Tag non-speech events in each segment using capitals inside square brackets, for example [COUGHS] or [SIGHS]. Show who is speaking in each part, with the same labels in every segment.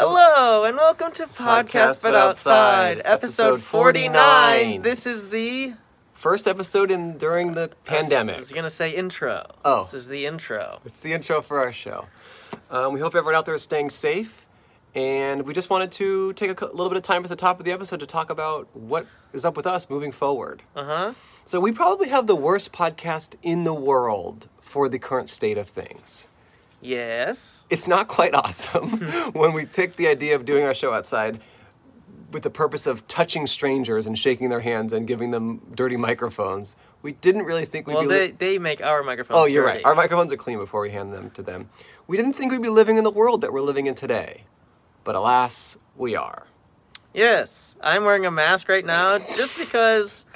Speaker 1: Hello and welcome to Podcast,
Speaker 2: Podcast
Speaker 1: But
Speaker 2: But
Speaker 1: Outside,
Speaker 2: Outside,
Speaker 1: episode
Speaker 2: episode
Speaker 1: 49.
Speaker 2: 49.
Speaker 1: This is the
Speaker 2: First episode in during the
Speaker 1: I
Speaker 2: pandemic.
Speaker 1: was going to say intro.
Speaker 2: Oh.
Speaker 1: This is the intro.
Speaker 2: It's the intro for our show. Um, we hope everyone out there is staying safe, and we just wanted to take a cou- little bit of time at the top of the episode to talk about what is up with us moving forward.
Speaker 1: Uh huh.
Speaker 2: So we probably have the worst podcast in the world for the current state of things.
Speaker 1: Yes.
Speaker 2: It's not
Speaker 1: [LAUGHS]
Speaker 2: quite [LAUGHS] awesome when we picked the idea of doing our show outside with the purpose of touching strangers and shaking their hands and giving them dirty microphones. We didn't really think we'd
Speaker 1: Well,
Speaker 2: be
Speaker 1: they, they make our microphones.
Speaker 2: Oh, you're right.
Speaker 1: dirty.
Speaker 2: Our microphones are clean before we hand them to them. We didn't think we'd be living in the world that we're living in today, but alas, we are.
Speaker 1: yes. I'm wearing a mask right now just because,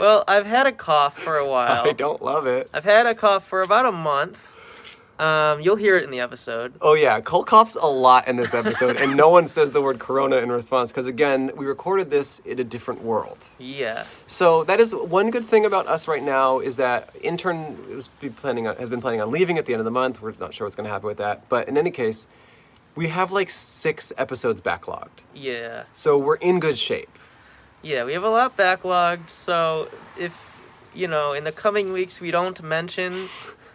Speaker 1: well, I've had a cough for a while.
Speaker 2: [LAUGHS] I don't love it.
Speaker 1: I've had a cough for about a month. Um, you'll hear it in the episode.
Speaker 2: Oh yeah, Cole coughs a lot in this episode, and no one says the word corona in response because again, we recorded this in a different world.
Speaker 1: Yeah.
Speaker 2: So that is one good thing about us right now is that intern is be planning on, has been planning on leaving at the end of the month. We're not sure what's going to happen with that, but in any case, we have like six episodes backlogged,
Speaker 1: Yeah.
Speaker 2: so we're in good shape.
Speaker 1: Yeah, we have a lot backlogged, so if, you know, in the coming weeks we don't mention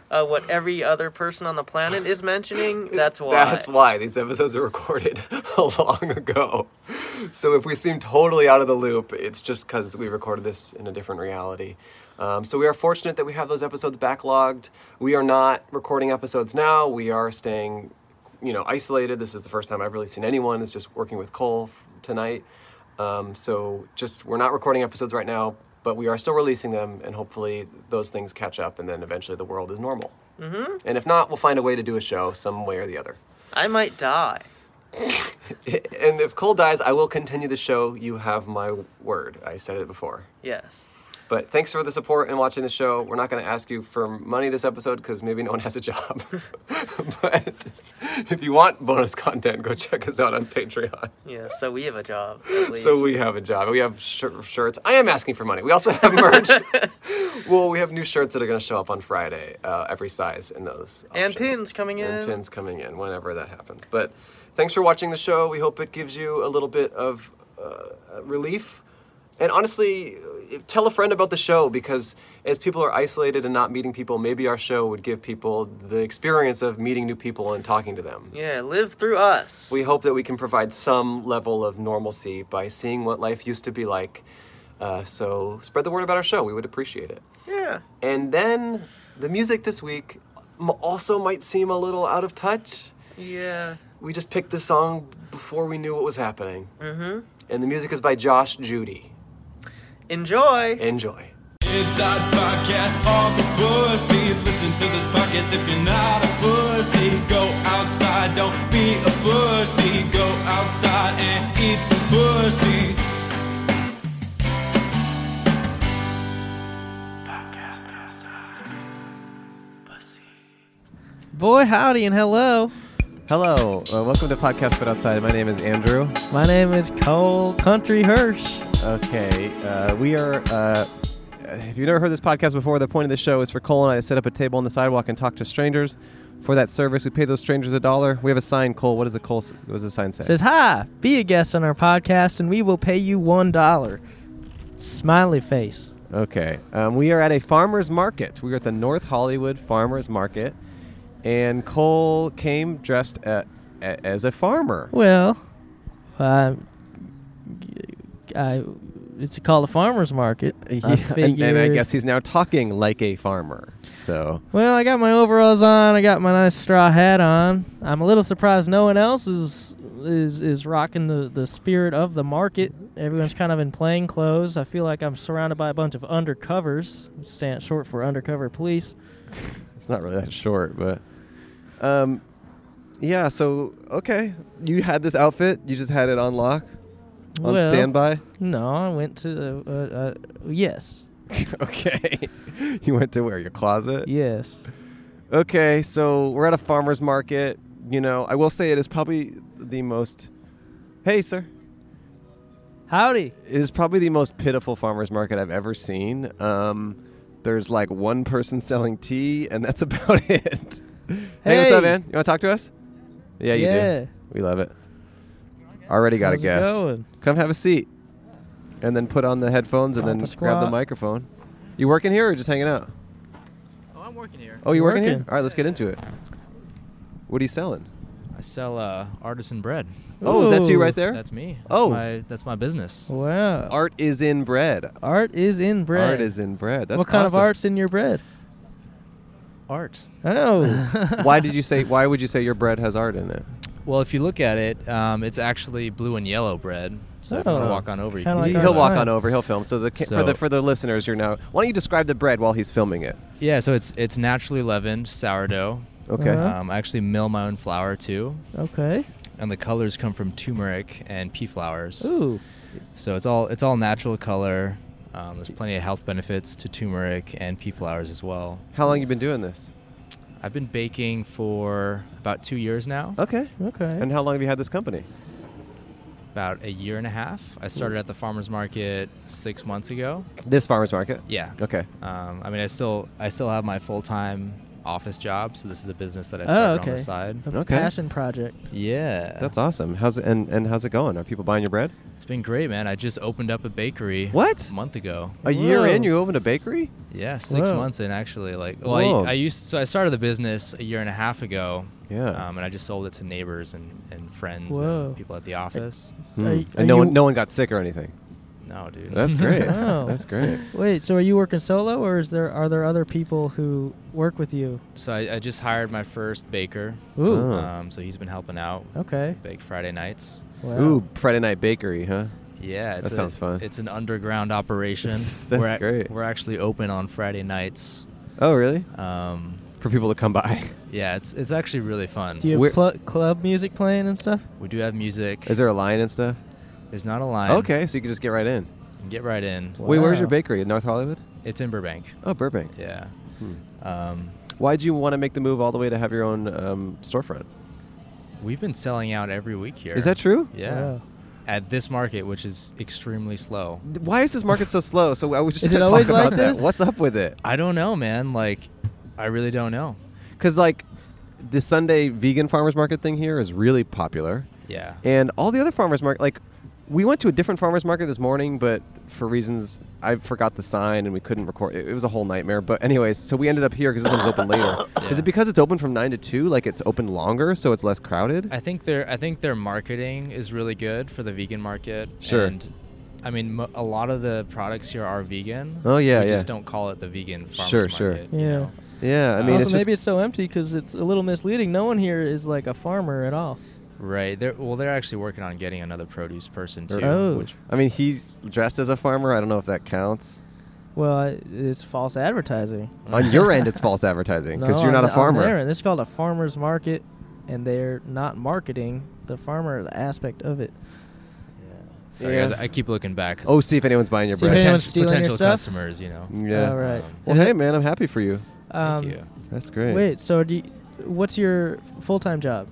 Speaker 1: uh, what every other person on the planet is
Speaker 2: [LAUGHS]
Speaker 1: mentioning, that's why.
Speaker 2: That's why these episodes are recorded [LAUGHS] long ago. So if we seem totally out of the loop, it's just because we recorded this in a different reality. Um, so we are fortunate that we have those episodes backlogged. We are not recording episodes now. We are staying, you know, isolated. This is the first time I've really seen anyone. It's just working with Cole f- tonight. Um, so just we're not recording episodes right now, but we are still releasing them, and hopefully those things catch up, and then eventually the world is normal.
Speaker 1: Hmm.
Speaker 2: And if not, we'll find a way to do a show some way or the other.
Speaker 1: I might die.
Speaker 2: And if Cole dies, I will continue the show. You have my word. I said it before.
Speaker 1: Yes.
Speaker 2: But thanks for the support and watching the show. We're not going to ask you for money this episode because maybe no one has a job. [LAUGHS] but if you want bonus content, go check us out on Patreon.
Speaker 1: Yeah, so we have a job. At least.
Speaker 2: [LAUGHS] So we have a job. We have shir- shirts. I am asking for money. We also
Speaker 1: [LAUGHS]
Speaker 2: have merch. well, we have new shirts that are going to show up on Friday, uh, every size in those.
Speaker 1: And
Speaker 2: options.
Speaker 1: pins coming in.
Speaker 2: And pins coming in whenever that happens. But thanks for watching the show. We hope it gives you a little bit of uh, relief. And honestly, uh, tell a friend about the show because as people are isolated and not meeting people, maybe our show would give people the experience of meeting new people and talking to them.
Speaker 1: Yeah, live through us.
Speaker 2: We hope that we can provide some level of normalcy by seeing what life used to be like. Uh, so spread the word about our show. We would appreciate it.
Speaker 1: yeah.
Speaker 2: And then the music this week m- also might seem a little out of touch.
Speaker 1: Yeah.
Speaker 2: We just picked this song before we knew what was happening. Mm-hmm. And the music is by Josh Judy.
Speaker 1: Enjoy.
Speaker 2: Enjoy.
Speaker 3: Inside podcast, all the pussies. Listen to this podcast if you're not a pussy. Go outside, don't be a pussy. Go outside and eat some pussy.
Speaker 4: Boy, howdy and hello.
Speaker 5: Hello, uh, welcome to Podcast But Outside. My name is Andrew.
Speaker 4: My name is Cole Country Hirsch.
Speaker 5: Okay, uh, we are. Uh, if you've never heard this podcast before, the point of the show is for Cole and I to set up a table on the sidewalk and talk to strangers. For that service, we pay those strangers a dollar. We have a sign, Cole. What does the Cole? s- What does the sign say?
Speaker 4: Says, Hi, be a guest on our podcast and we will pay you $1. Smiley face.
Speaker 5: Okay. Um, we are at a farmer's market. We are at the North Hollywood Farmer's Market, and Cole came dressed a a- as a farmer.
Speaker 4: Well, I, I, it's called a farmer's market.
Speaker 5: [LAUGHS] Yeah,
Speaker 4: I
Speaker 5: and, and I
Speaker 4: figured-
Speaker 5: guess he's now talking like a farmer. So.
Speaker 4: Well, I got my overalls on. I got my nice straw hat on. I'm a little surprised no one else is is is rocking the the spirit of the market. Everyone's kind of in plain clothes. I feel like I'm surrounded by a bunch of undercovers. Stand short for undercover police.
Speaker 5: It's not really that short, but um, yeah. So okay, you had this outfit. You just had it on lock, on
Speaker 4: Well,
Speaker 5: standby.
Speaker 4: No, I went to uh, uh, yes,
Speaker 5: okay, [LAUGHS] you went to where your closet.
Speaker 4: yes.
Speaker 5: Okay, so we're at a farmer's market. You know, I will say it is probably the most. Hey, sir.
Speaker 4: Howdy.
Speaker 5: It is probably the most pitiful farmer's market I've ever seen. Um, there's like one person selling tea, and
Speaker 2: [LAUGHS]
Speaker 5: that's about it. Hey, what's
Speaker 4: Hey.
Speaker 5: up, man? You want to talk to us? Yeah, you
Speaker 4: Yeah.
Speaker 5: do. We love it.
Speaker 2: Already got
Speaker 1: How's
Speaker 2: a
Speaker 1: it
Speaker 2: guest.
Speaker 1: going?
Speaker 2: Come have a seat, and then put on the headphones and
Speaker 1: Pop
Speaker 2: then
Speaker 1: a
Speaker 2: grab the
Speaker 1: squat.
Speaker 2: microphone. You working here or just hanging out?
Speaker 3: Oh, I'm working here.
Speaker 2: Oh, you working, here?
Speaker 1: Working.
Speaker 2: All right, let's get into it. What are you selling?
Speaker 3: I sell uh, artisan bread.
Speaker 2: Oh, that's you
Speaker 1: Ooh.
Speaker 2: right there.
Speaker 3: That's me. That's
Speaker 2: Oh.
Speaker 3: my, that's my business.
Speaker 1: Wow. Art,
Speaker 2: Art is in bread.
Speaker 1: is in bread.
Speaker 2: Art is in bread. That's
Speaker 1: what kind of
Speaker 2: awesome.
Speaker 1: art's in [LAUGHS] your bread?
Speaker 3: Art.
Speaker 1: Oh.
Speaker 2: [LAUGHS] why did you
Speaker 1: [LAUGHS]
Speaker 2: say? Why would you say your bread has art in it?
Speaker 3: Well, if you look at it, um, it's actually blue and yellow bread. So if you want
Speaker 1: Oh.
Speaker 3: to walk on over, you
Speaker 1: Kinda like
Speaker 3: can do
Speaker 2: he'll
Speaker 1: our
Speaker 3: that.
Speaker 2: walk
Speaker 1: sign.
Speaker 2: on over. He'll film. So the ca- for
Speaker 3: So-
Speaker 2: the for the listeners, you're now. Why don't you describe the bread while he's filming it?
Speaker 3: Yeah, so it's it's naturally leavened sourdough.
Speaker 2: Okay.
Speaker 1: Uh-huh.
Speaker 3: Um, I actually mill my own flour too,
Speaker 1: okay.
Speaker 3: and the colors come from turmeric and pea flowers.
Speaker 1: Ooh.
Speaker 3: So it's all it's all natural color. Um, there's plenty of health benefits to turmeric and pea flowers as well.
Speaker 2: How long you been doing this?
Speaker 3: I've been baking for about two years now,
Speaker 2: Okay.
Speaker 1: Okay.
Speaker 2: And how long have you had this company?
Speaker 3: about a year and a half. I started at the farmers market six months ago.
Speaker 2: This farmers market.
Speaker 3: Yeah.
Speaker 2: Okay.
Speaker 3: Um, I mean, I still I still have my full time office job, so this is a business that I
Speaker 1: oh,
Speaker 3: started
Speaker 1: okay.
Speaker 3: on the side.
Speaker 1: A
Speaker 2: Okay.
Speaker 1: passion project.
Speaker 3: Yeah,
Speaker 2: That's awesome. How's it, and and how's it going? Are people buying your bread?
Speaker 3: it's been great, man. I just opened up a bakery.
Speaker 2: What?
Speaker 3: A month ago.
Speaker 2: A year in,
Speaker 1: Whoa.
Speaker 2: you opened a bakery.
Speaker 3: Yeah, six
Speaker 1: Whoa.
Speaker 3: months in actually. Like,
Speaker 2: Whoa.
Speaker 3: well, I, I used so I started the business a year and a half ago.
Speaker 2: Yeah.
Speaker 3: Um, and I just sold it to neighbors and, and friends
Speaker 1: Whoa.
Speaker 3: and people at the office.
Speaker 2: Hmm.
Speaker 1: Are- are
Speaker 2: and no
Speaker 1: you-
Speaker 2: one no one got sick or anything.
Speaker 3: No, dude.
Speaker 2: That's
Speaker 1: [LAUGHS]
Speaker 3: [LAUGHS]
Speaker 2: great.
Speaker 1: Wow.
Speaker 2: That's great.
Speaker 1: Oh. Wait, so are you working solo or is there are there other people who work with you?
Speaker 3: so I, I just hired my first baker.
Speaker 1: Ooh.
Speaker 2: Oh.
Speaker 3: Um, so he's been helping out.
Speaker 1: Okay.
Speaker 3: Bake Friday nights.
Speaker 1: Wow.
Speaker 2: Ooh, Friday night bakery, huh?
Speaker 3: Yeah, it's
Speaker 2: That
Speaker 3: a-
Speaker 2: sounds fun.
Speaker 3: It's an underground operation.
Speaker 2: [LAUGHS] That's
Speaker 3: we're ac-
Speaker 2: great.
Speaker 3: We're actually open on Friday nights.
Speaker 2: Oh, really?
Speaker 1: Uh,
Speaker 3: Um,
Speaker 2: For people to
Speaker 1: [LAUGHS]
Speaker 2: come by.
Speaker 3: yeah, it's it's actually really fun.
Speaker 1: Do you
Speaker 2: We're-
Speaker 1: have cl- club music playing and stuff?
Speaker 3: we do have music.
Speaker 2: Is there a line and stuff?
Speaker 3: There's not a line.
Speaker 2: Okay, so you can just get right in.
Speaker 3: You can Get right in.
Speaker 2: Wait, where's your
Speaker 1: Wow.
Speaker 2: bakery? In North Hollywood?
Speaker 3: It's in Burbank.
Speaker 2: Oh, Burbank.
Speaker 3: Yeah.
Speaker 2: Hmm.
Speaker 3: Um,
Speaker 2: Why'd you want to make the move all the way to have your own um, storefront?
Speaker 3: we've been selling out every week here.
Speaker 2: Is that true?
Speaker 3: Yeah.
Speaker 1: Wow.
Speaker 3: At this market, which is extremely slow.
Speaker 2: Th- Why is this market so slow? So I was just
Speaker 1: Is it
Speaker 2: gonna
Speaker 1: always
Speaker 2: talk about
Speaker 1: like
Speaker 2: that.
Speaker 1: this?
Speaker 2: What's up with it?
Speaker 3: I don't know, man. Like, I really don't know.
Speaker 2: Because like the Sunday vegan farmers market thing here is really popular,
Speaker 3: Yeah.
Speaker 2: and all the other farmers market like we went to a different farmers market this morning, but for reasons I forgot the sign and we couldn't record. It, it was a whole nightmare. But anyways, so we ended up here because this one's open later. Is
Speaker 3: Yeah.
Speaker 2: it because it's open from nine to two? Like it's open longer, so it's less crowded.
Speaker 3: I think their I think their marketing is really good for the vegan market.
Speaker 2: Sure.
Speaker 3: And I mean, mo- a lot of the products here are vegan.
Speaker 2: Oh, yeah,
Speaker 3: We
Speaker 2: yeah.
Speaker 3: just don't call it the vegan farmers
Speaker 2: Sure, sure.
Speaker 3: market, you
Speaker 1: Yeah.
Speaker 3: know? Uh,
Speaker 2: yeah, I mean,
Speaker 1: also,
Speaker 2: it's just
Speaker 1: maybe it's Oh, so empty because it's a little misleading. No one here is like a farmer at all.
Speaker 3: Right. They're, well, they're actually working on getting another produce person
Speaker 2: Er,
Speaker 3: too.
Speaker 1: Oh.
Speaker 3: Which
Speaker 2: I mean, he's dressed as a farmer. I don't know if that counts.
Speaker 1: Well, I- it's false advertising.
Speaker 2: On your end,
Speaker 1: [LAUGHS]
Speaker 2: it's false advertising because
Speaker 1: No,
Speaker 2: you're
Speaker 1: on
Speaker 2: not a
Speaker 1: the- on their
Speaker 2: farmer.
Speaker 1: end. This is called a farmer's market, and they're not marketing the farmer aspect of it.
Speaker 3: sorry,
Speaker 2: Yeah.
Speaker 3: guys, I keep looking back. 'cause
Speaker 2: Oh, see if anyone's buying your
Speaker 1: See if
Speaker 2: bread.
Speaker 3: poten-
Speaker 1: anyone's stealing your
Speaker 3: potential
Speaker 1: stuff?
Speaker 3: customers, you know.
Speaker 2: Yeah.
Speaker 1: All right.
Speaker 2: Well,
Speaker 1: Is
Speaker 2: hey,
Speaker 1: it-
Speaker 2: man, I'm happy for you.
Speaker 1: um,
Speaker 3: Thank you.
Speaker 2: That's great.
Speaker 1: Wait, so do you, what's your full time job?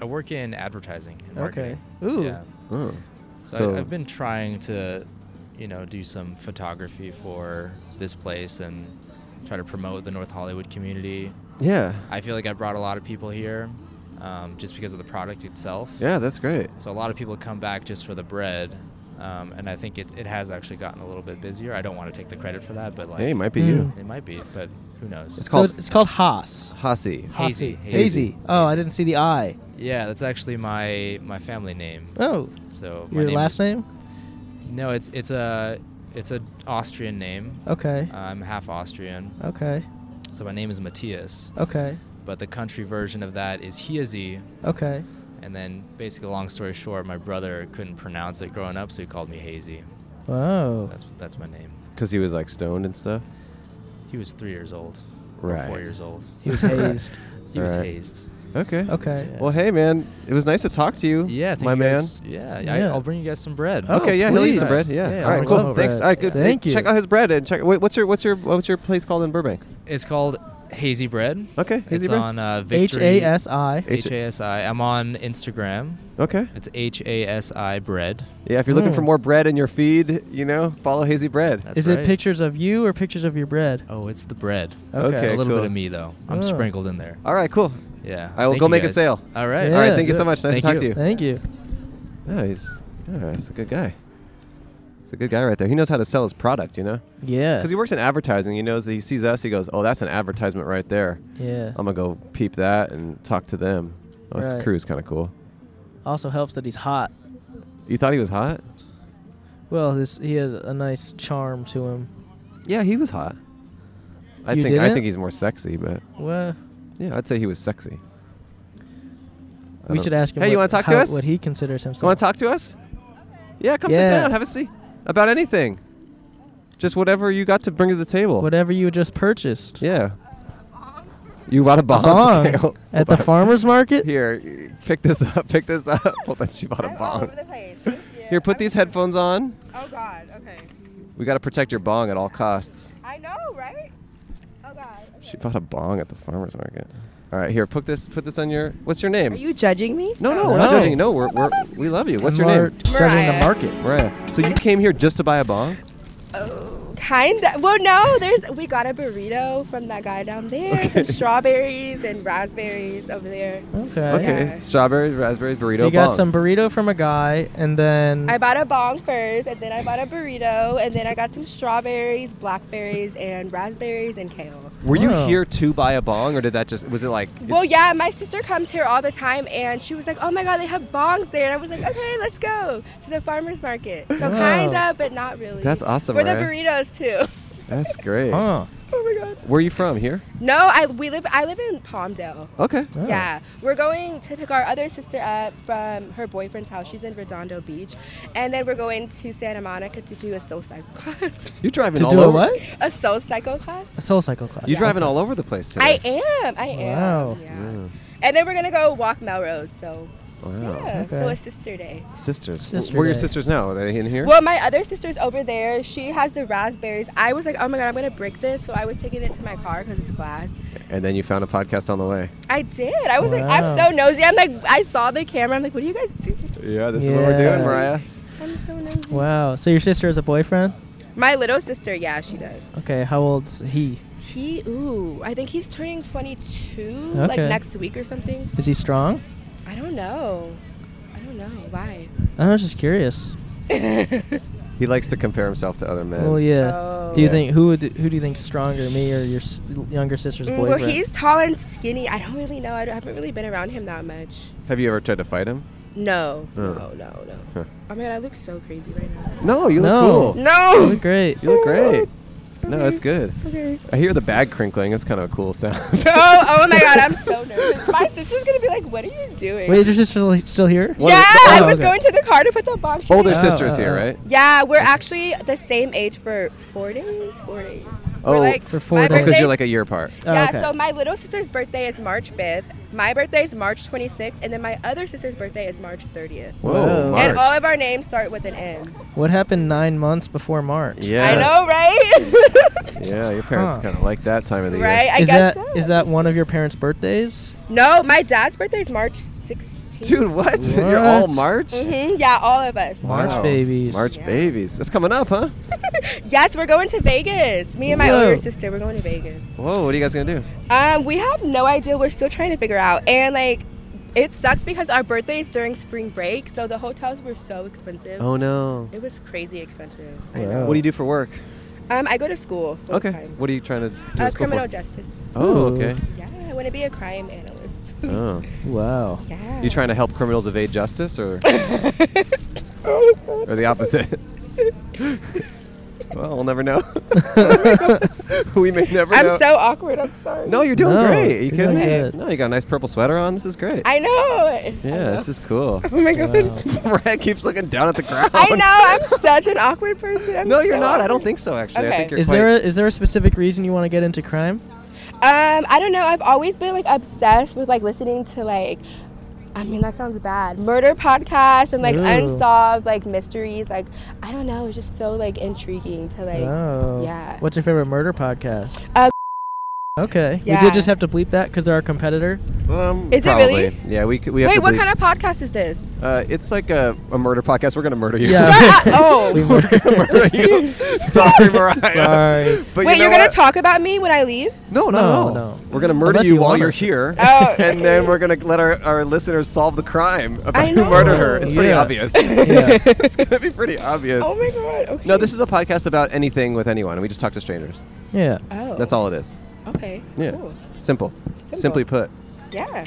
Speaker 3: I work in advertising and marketing.
Speaker 1: Okay. Ooh.
Speaker 3: Yeah.
Speaker 2: Oh.
Speaker 3: So,
Speaker 2: So-
Speaker 3: I, I've been trying to, you know, do some photography for this place and try to promote the North Hollywood community.
Speaker 2: Yeah.
Speaker 3: I feel like I brought a lot of people here um, just because of the product itself.
Speaker 2: Yeah, that's great.
Speaker 3: So a lot of people come back just for the bread. Um, and I think it, it has actually gotten a little bit busier. I don't want to take the credit for that, but like
Speaker 2: Hey, it might be
Speaker 1: Mm.
Speaker 2: you.
Speaker 3: it might be, but who knows?
Speaker 2: It's
Speaker 1: So
Speaker 2: called
Speaker 1: it's, it's called Haas.
Speaker 2: Hasi.
Speaker 3: Hazy.
Speaker 1: Hazy. Hazy.
Speaker 3: Hazy.
Speaker 1: Oh, I
Speaker 3: Hazy.
Speaker 1: didn't see the I.
Speaker 3: yeah, that's actually my my family name.
Speaker 1: Oh,
Speaker 3: So my
Speaker 1: your
Speaker 3: name
Speaker 1: last
Speaker 3: is-
Speaker 1: name?
Speaker 3: No, it's it's a it's an Austrian name.
Speaker 1: Okay.
Speaker 3: I'm half Austrian,
Speaker 1: okay.
Speaker 3: so my name is Matthias.
Speaker 1: Okay.
Speaker 3: But the country version of that is Hiazi,
Speaker 1: Okay.
Speaker 3: and then basically, long story short, my brother couldn't pronounce it growing up, so he called me Hazy.
Speaker 2: Oh.
Speaker 3: So
Speaker 1: Wow.
Speaker 3: that's that's my name.
Speaker 2: Because he was like stoned and stuff.
Speaker 3: He was three years old, or
Speaker 2: Right.
Speaker 3: four years old.
Speaker 1: He was hazed.
Speaker 3: [LAUGHS] He was
Speaker 2: Right.
Speaker 3: hazed.
Speaker 2: Okay.
Speaker 1: Okay.
Speaker 3: Yeah.
Speaker 2: Well, hey, man, it was nice to talk to you.
Speaker 3: Yeah, thank
Speaker 2: my
Speaker 3: you
Speaker 2: man.
Speaker 3: guys- Yeah, I,
Speaker 1: Yeah.
Speaker 3: I'll bring you guys some bread.
Speaker 1: Oh,
Speaker 2: okay, yeah, he'll eat some
Speaker 1: please.
Speaker 2: bread. Yeah.
Speaker 3: Yeah,
Speaker 2: All
Speaker 3: I'll
Speaker 2: right,
Speaker 3: bring
Speaker 2: cool.
Speaker 3: some
Speaker 2: Thanks.
Speaker 1: bread.
Speaker 2: All right, good.
Speaker 1: Yeah. Thank you.
Speaker 2: Check out his bread and check. Wait, what's your what's your what's your place called in Burbank?
Speaker 3: It's called Hazy Bread.
Speaker 2: Okay, Hazy
Speaker 3: it's
Speaker 2: Bread.
Speaker 3: on uh,
Speaker 1: H
Speaker 3: Victory.
Speaker 1: A S I.
Speaker 2: H-
Speaker 3: H A S I. I'm on Instagram.
Speaker 2: Okay.
Speaker 3: It's H A S I Bread.
Speaker 2: Yeah, if you're looking for
Speaker 1: Mm.
Speaker 2: more bread in your feed, you know, follow Hazy Bread.
Speaker 3: That's
Speaker 1: Is it
Speaker 3: right.
Speaker 1: pictures of you or pictures of your bread?
Speaker 3: Oh, it's the bread.
Speaker 1: Okay.
Speaker 2: Okay,
Speaker 3: a little
Speaker 2: cool.
Speaker 3: bit of me though. I'm
Speaker 1: Oh.
Speaker 3: sprinkled in there.
Speaker 2: All right, cool.
Speaker 3: Yeah.
Speaker 2: I will
Speaker 3: Thank
Speaker 2: go
Speaker 3: you
Speaker 2: make a
Speaker 3: guys.
Speaker 2: sale.
Speaker 3: All right.
Speaker 2: All right,
Speaker 1: Yeah,
Speaker 2: thank you
Speaker 1: do
Speaker 2: so
Speaker 1: it.
Speaker 2: much. Nice
Speaker 3: Thank
Speaker 2: to talk
Speaker 3: you.
Speaker 2: to you.
Speaker 1: Thank you.
Speaker 2: No, he's yeah, he's a good guy. He's a good guy right there. He knows how to sell his product, you know?
Speaker 1: Yeah.
Speaker 2: Because he works in advertising. He knows that he sees us, he goes, Oh, that's an advertisement right there.
Speaker 1: Yeah.
Speaker 2: I'm going to go peep that and talk to them. Oh,
Speaker 1: Right.
Speaker 2: This crew is kind of cool.
Speaker 1: Also helps that he's hot.
Speaker 2: You thought he was hot?
Speaker 1: Well, this he had a nice charm to him.
Speaker 2: Yeah, he was hot. I
Speaker 1: You
Speaker 2: think I
Speaker 1: didn't?
Speaker 2: think he's more sexy, but
Speaker 1: Well,
Speaker 2: yeah, I'd say he was sexy. I
Speaker 1: we
Speaker 2: don't-
Speaker 1: should ask him.
Speaker 2: Hey,
Speaker 1: what,
Speaker 2: you want to talk to
Speaker 1: how-
Speaker 2: us?
Speaker 1: What he considers himself.
Speaker 2: You want to talk to us? Yeah, come sit
Speaker 1: Yeah.
Speaker 2: down. Have a seat. About anything. Just whatever you got to bring to the table.
Speaker 1: Whatever you just purchased
Speaker 2: Yeah. You bought a bomb.
Speaker 1: bong.
Speaker 2: [LAUGHS] Okay, hold-
Speaker 1: at the
Speaker 2: hold on.
Speaker 1: farmer's market.
Speaker 2: Here, y- pick this up. Pick this up. [LAUGHS] Hold on, she bought a
Speaker 6: I'm all over
Speaker 2: bong.
Speaker 6: the
Speaker 2: [LAUGHS]
Speaker 6: place. Thank you.
Speaker 2: Here, put
Speaker 6: I'm
Speaker 2: these
Speaker 6: gonna-
Speaker 2: headphones on.
Speaker 6: Oh God. Okay.
Speaker 2: We gotta protect your bong at all costs.
Speaker 6: I know, right? Oh God.
Speaker 2: She bought a bong at the farmer's market. All right, here, put this. Put this on your. What's your name?
Speaker 6: Are you judging me?
Speaker 2: no, no, we're not
Speaker 1: No.
Speaker 2: judging. you. No, we're, we're we love you. What's your
Speaker 1: Mar-
Speaker 2: name?
Speaker 1: Judging the
Speaker 6: Mariah.
Speaker 1: market.
Speaker 2: Mariah. So you came here just to buy a bong?
Speaker 6: Kinda. Oh. Well, no. There's. We got a burrito from that guy down there. Some strawberries and raspberries over there.
Speaker 1: Okay.
Speaker 2: Okay.
Speaker 6: Yeah.
Speaker 2: Strawberries, raspberries, burrito.
Speaker 1: So you got
Speaker 2: bong.
Speaker 1: some burrito from a guy, and then
Speaker 6: I bought a bong first, and then I bought a burrito, and then I got some strawberries, blackberries, and raspberries and kale.
Speaker 2: Were you
Speaker 1: Wow.
Speaker 2: here to buy a bong, or did that just was it like?
Speaker 6: Well, yeah, my sister comes here all the time, and she was like, "Oh my God, they have bongs there!" And I was like, "Okay, let's go to the farmers market." So
Speaker 1: Wow.
Speaker 6: kinda, but not really.
Speaker 2: That's awesome,
Speaker 6: For the
Speaker 2: Mariah.
Speaker 6: burritos too. [LAUGHS]
Speaker 2: That's great.
Speaker 1: huh?
Speaker 6: Oh my God.
Speaker 2: Where are you from? Here?
Speaker 6: No, I we live. I live in Palmdale.
Speaker 2: Okay.
Speaker 6: Yeah, we're going to pick our other sister up from her boyfriend's house. She's in Redondo Beach, and then we're going to Santa Monica to do a soul cycle [LAUGHS] class.
Speaker 2: You're driving
Speaker 1: To
Speaker 2: all
Speaker 1: do
Speaker 2: over.
Speaker 1: a what?
Speaker 6: a soul cycle class.
Speaker 1: A soul cycle class.
Speaker 2: You're driving all over the place today.
Speaker 6: I am. I am.
Speaker 1: Wow.
Speaker 6: Yeah. And then we're gonna go walk Melrose. So
Speaker 2: Wow.
Speaker 6: yeah,
Speaker 1: okay.
Speaker 6: so a sister day.
Speaker 2: Sisters.
Speaker 1: Sister
Speaker 2: Where are your
Speaker 1: day.
Speaker 2: sisters now? Are they in here?
Speaker 6: Well, my other sister's over there. She has the raspberries. I was like, oh my god, I'm gonna break this. So I was taking it to my car because it's glass.
Speaker 2: And then you found a podcast on the way.
Speaker 6: I did. I was like, I'm
Speaker 1: Wow.
Speaker 6: so nosy. I'm like, I saw the camera. I'm like, what do you guys do?
Speaker 2: Yeah, this
Speaker 1: is what we're doing, Yeah. Mariah.
Speaker 6: I'm so nosy.
Speaker 1: Wow. So your sister has a boyfriend?
Speaker 6: My little sister, yeah, she does.
Speaker 1: Okay. How old's he?
Speaker 6: He, ooh, I think he's turning 22 like
Speaker 1: Okay.
Speaker 6: next week or something.
Speaker 1: Is he strong?
Speaker 6: I don't know. I don't know
Speaker 1: [LAUGHS]
Speaker 6: why.
Speaker 1: I was just curious.
Speaker 2: He likes to compare himself to other men.
Speaker 1: Well, yeah.
Speaker 6: Oh.
Speaker 1: Do you
Speaker 2: Yeah.
Speaker 1: think who would who do you think's stronger, me or your s- younger sister's
Speaker 6: Mm,
Speaker 1: boyfriend?
Speaker 6: Well, he's tall and skinny. I don't really know. I, don't- I haven't really been around him that much.
Speaker 2: Have you ever tried to fight him?
Speaker 6: No,
Speaker 2: Oh.
Speaker 6: no, no, no.
Speaker 2: Huh.
Speaker 6: Oh my god, I look so crazy right now.
Speaker 2: No, you look
Speaker 1: No.
Speaker 2: cool.
Speaker 1: You
Speaker 6: No. [LAUGHS]
Speaker 1: look great.
Speaker 2: You look great. No, that's good.
Speaker 6: Okay.
Speaker 2: I hear the bag crinkling. That's kind of a cool sound.
Speaker 6: oh, oh my god, I'm so nervous. [LAUGHS] My sister's gonna be like, "What are you doing?"
Speaker 1: Wait, is your sister li- still here?
Speaker 2: What
Speaker 6: yeah,
Speaker 2: is-
Speaker 6: I
Speaker 1: oh,
Speaker 6: was
Speaker 1: okay.
Speaker 6: going to the car to put the bomb.
Speaker 2: [LAUGHS]
Speaker 6: she
Speaker 2: Older
Speaker 6: made.
Speaker 1: Oh,
Speaker 2: sisters
Speaker 1: oh,
Speaker 2: here,
Speaker 1: oh.
Speaker 2: right?
Speaker 6: Yeah, we're actually the same age for four days. Four days. We're
Speaker 2: Oh,
Speaker 6: like,
Speaker 1: For four
Speaker 6: my
Speaker 1: days.
Speaker 2: Because
Speaker 6: birthday's-
Speaker 2: you're like a year apart.
Speaker 1: Oh,
Speaker 6: yeah,
Speaker 1: okay.
Speaker 6: so my little sister's birthday is March 5th. My birthday is March 26th, and then my other sister's birthday is March 30th.
Speaker 2: Whoa,
Speaker 1: Whoa.
Speaker 2: March.
Speaker 6: And all of our names start with an M.
Speaker 1: What happened nine months before March?
Speaker 2: yeah.
Speaker 6: I know, right?
Speaker 2: Yeah, your parents
Speaker 1: Huh.
Speaker 2: kind of like that time of the
Speaker 6: right?
Speaker 2: year.
Speaker 6: I
Speaker 1: is that
Speaker 6: guess so.
Speaker 1: is that one of your parents' birthdays?
Speaker 6: [LAUGHS] No, my dad's birthday is March 16th.
Speaker 2: Dude,
Speaker 6: [LAUGHS]
Speaker 2: what? You're all
Speaker 1: What?
Speaker 2: March?
Speaker 6: hmm yeah, all of us.
Speaker 1: March
Speaker 2: Wow.
Speaker 1: babies.
Speaker 2: March
Speaker 6: Yeah.
Speaker 2: babies. That's coming up, huh?
Speaker 6: Yes, we're going to Vegas. Me and my
Speaker 1: Whoa.
Speaker 6: older sister, we're going to Vegas.
Speaker 2: Whoa, what are you guys going to do?
Speaker 6: Um, we have no idea. We're still trying to figure out. And like, it sucks because our birthday is during spring break, so the hotels were so expensive.
Speaker 2: Oh, no.
Speaker 6: It was crazy expensive.
Speaker 2: What do you do for work?
Speaker 6: Um, I go to school full
Speaker 2: Okay.
Speaker 6: time.
Speaker 2: What are you trying to do? at
Speaker 6: Uh,
Speaker 2: school for?
Speaker 6: criminal justice.
Speaker 2: Oh,
Speaker 1: Ooh.
Speaker 2: okay.
Speaker 6: Yeah, I want to be a crime analyst.
Speaker 2: Oh.
Speaker 1: Wow.
Speaker 6: [LAUGHS] yeah. [LAUGHS]
Speaker 2: You trying to help criminals evade justice or, or the opposite? [LAUGHS] well, we'll never [LAUGHS] know. we may never know.
Speaker 6: I'm so awkward. I'm sorry.
Speaker 2: no, you're doing
Speaker 1: No,
Speaker 2: great. Are you
Speaker 1: you're
Speaker 2: kidding
Speaker 1: doing
Speaker 2: me?
Speaker 1: good.
Speaker 2: No, you got a nice purple sweater on. This is great.
Speaker 6: I know.
Speaker 2: yeah, this is [LAUGHS] cool.
Speaker 6: Oh my god.
Speaker 2: Ryan keeps looking down at the ground. [LAUGHS]
Speaker 6: I know. I'm such an awkward person. I'm
Speaker 2: No, you're
Speaker 6: so
Speaker 2: not. I don't
Speaker 6: awkward.
Speaker 2: think so, actually. I
Speaker 6: Okay.
Speaker 2: think you're
Speaker 1: Is
Speaker 2: quite-
Speaker 1: there a, is there a specific reason you want to get into crime?
Speaker 6: Um, I don't know. I've always been like obsessed with like listening to like. I mean that sounds bad. Murder podcasts and like
Speaker 1: Ooh.
Speaker 6: unsolved like mysteries. Like I don't know. It's just so like intriguing to like.
Speaker 1: oh.
Speaker 6: yeah. Uh,
Speaker 1: What's your favorite murder podcast? Okay. We
Speaker 6: Yeah.
Speaker 1: did just have to bleep that because they're our competitor.
Speaker 2: Um,
Speaker 6: Is it
Speaker 2: probably.
Speaker 6: really?
Speaker 2: Yeah, we could, we have
Speaker 6: Wait,
Speaker 2: to
Speaker 6: what
Speaker 2: bleep.
Speaker 6: kind of podcast is this?
Speaker 2: [LAUGHS] Uh, it's like a, a murder podcast. We're gonna murder you.
Speaker 1: Yeah.
Speaker 6: Shut up. Oh.
Speaker 1: We were. [LAUGHS]
Speaker 6: [LAUGHS]
Speaker 2: [LAUGHS] murder you. [LAUGHS] Sorry, Mariah.
Speaker 1: Sorry.
Speaker 2: But
Speaker 6: Wait,
Speaker 2: you know
Speaker 6: are gonna
Speaker 2: what?
Speaker 6: talk about me when I leave?
Speaker 2: No,
Speaker 1: No,
Speaker 2: not at all.
Speaker 1: no.
Speaker 2: We're gonna murder
Speaker 1: Unless
Speaker 2: you
Speaker 1: you
Speaker 2: while
Speaker 1: want
Speaker 2: you're
Speaker 1: us to.
Speaker 2: [LAUGHS] here,
Speaker 6: Oh,
Speaker 2: and then we're gonna let our, our listeners solve the crime about
Speaker 6: I
Speaker 2: who murdered her.
Speaker 6: know.
Speaker 2: It's pretty
Speaker 1: Yeah.
Speaker 2: obvious.
Speaker 1: [LAUGHS] Yeah.
Speaker 2: [LAUGHS] it's gonna be pretty obvious.
Speaker 6: Oh my god. Okay.
Speaker 2: no, this is a podcast about anything with anyone, and we just talk to strangers.
Speaker 1: Yeah.
Speaker 6: Oh.
Speaker 2: That's all it is.
Speaker 6: Okay.
Speaker 2: Yeah,
Speaker 6: Cool.
Speaker 2: simple.
Speaker 6: Simple.
Speaker 2: Simply put.
Speaker 6: Yeah.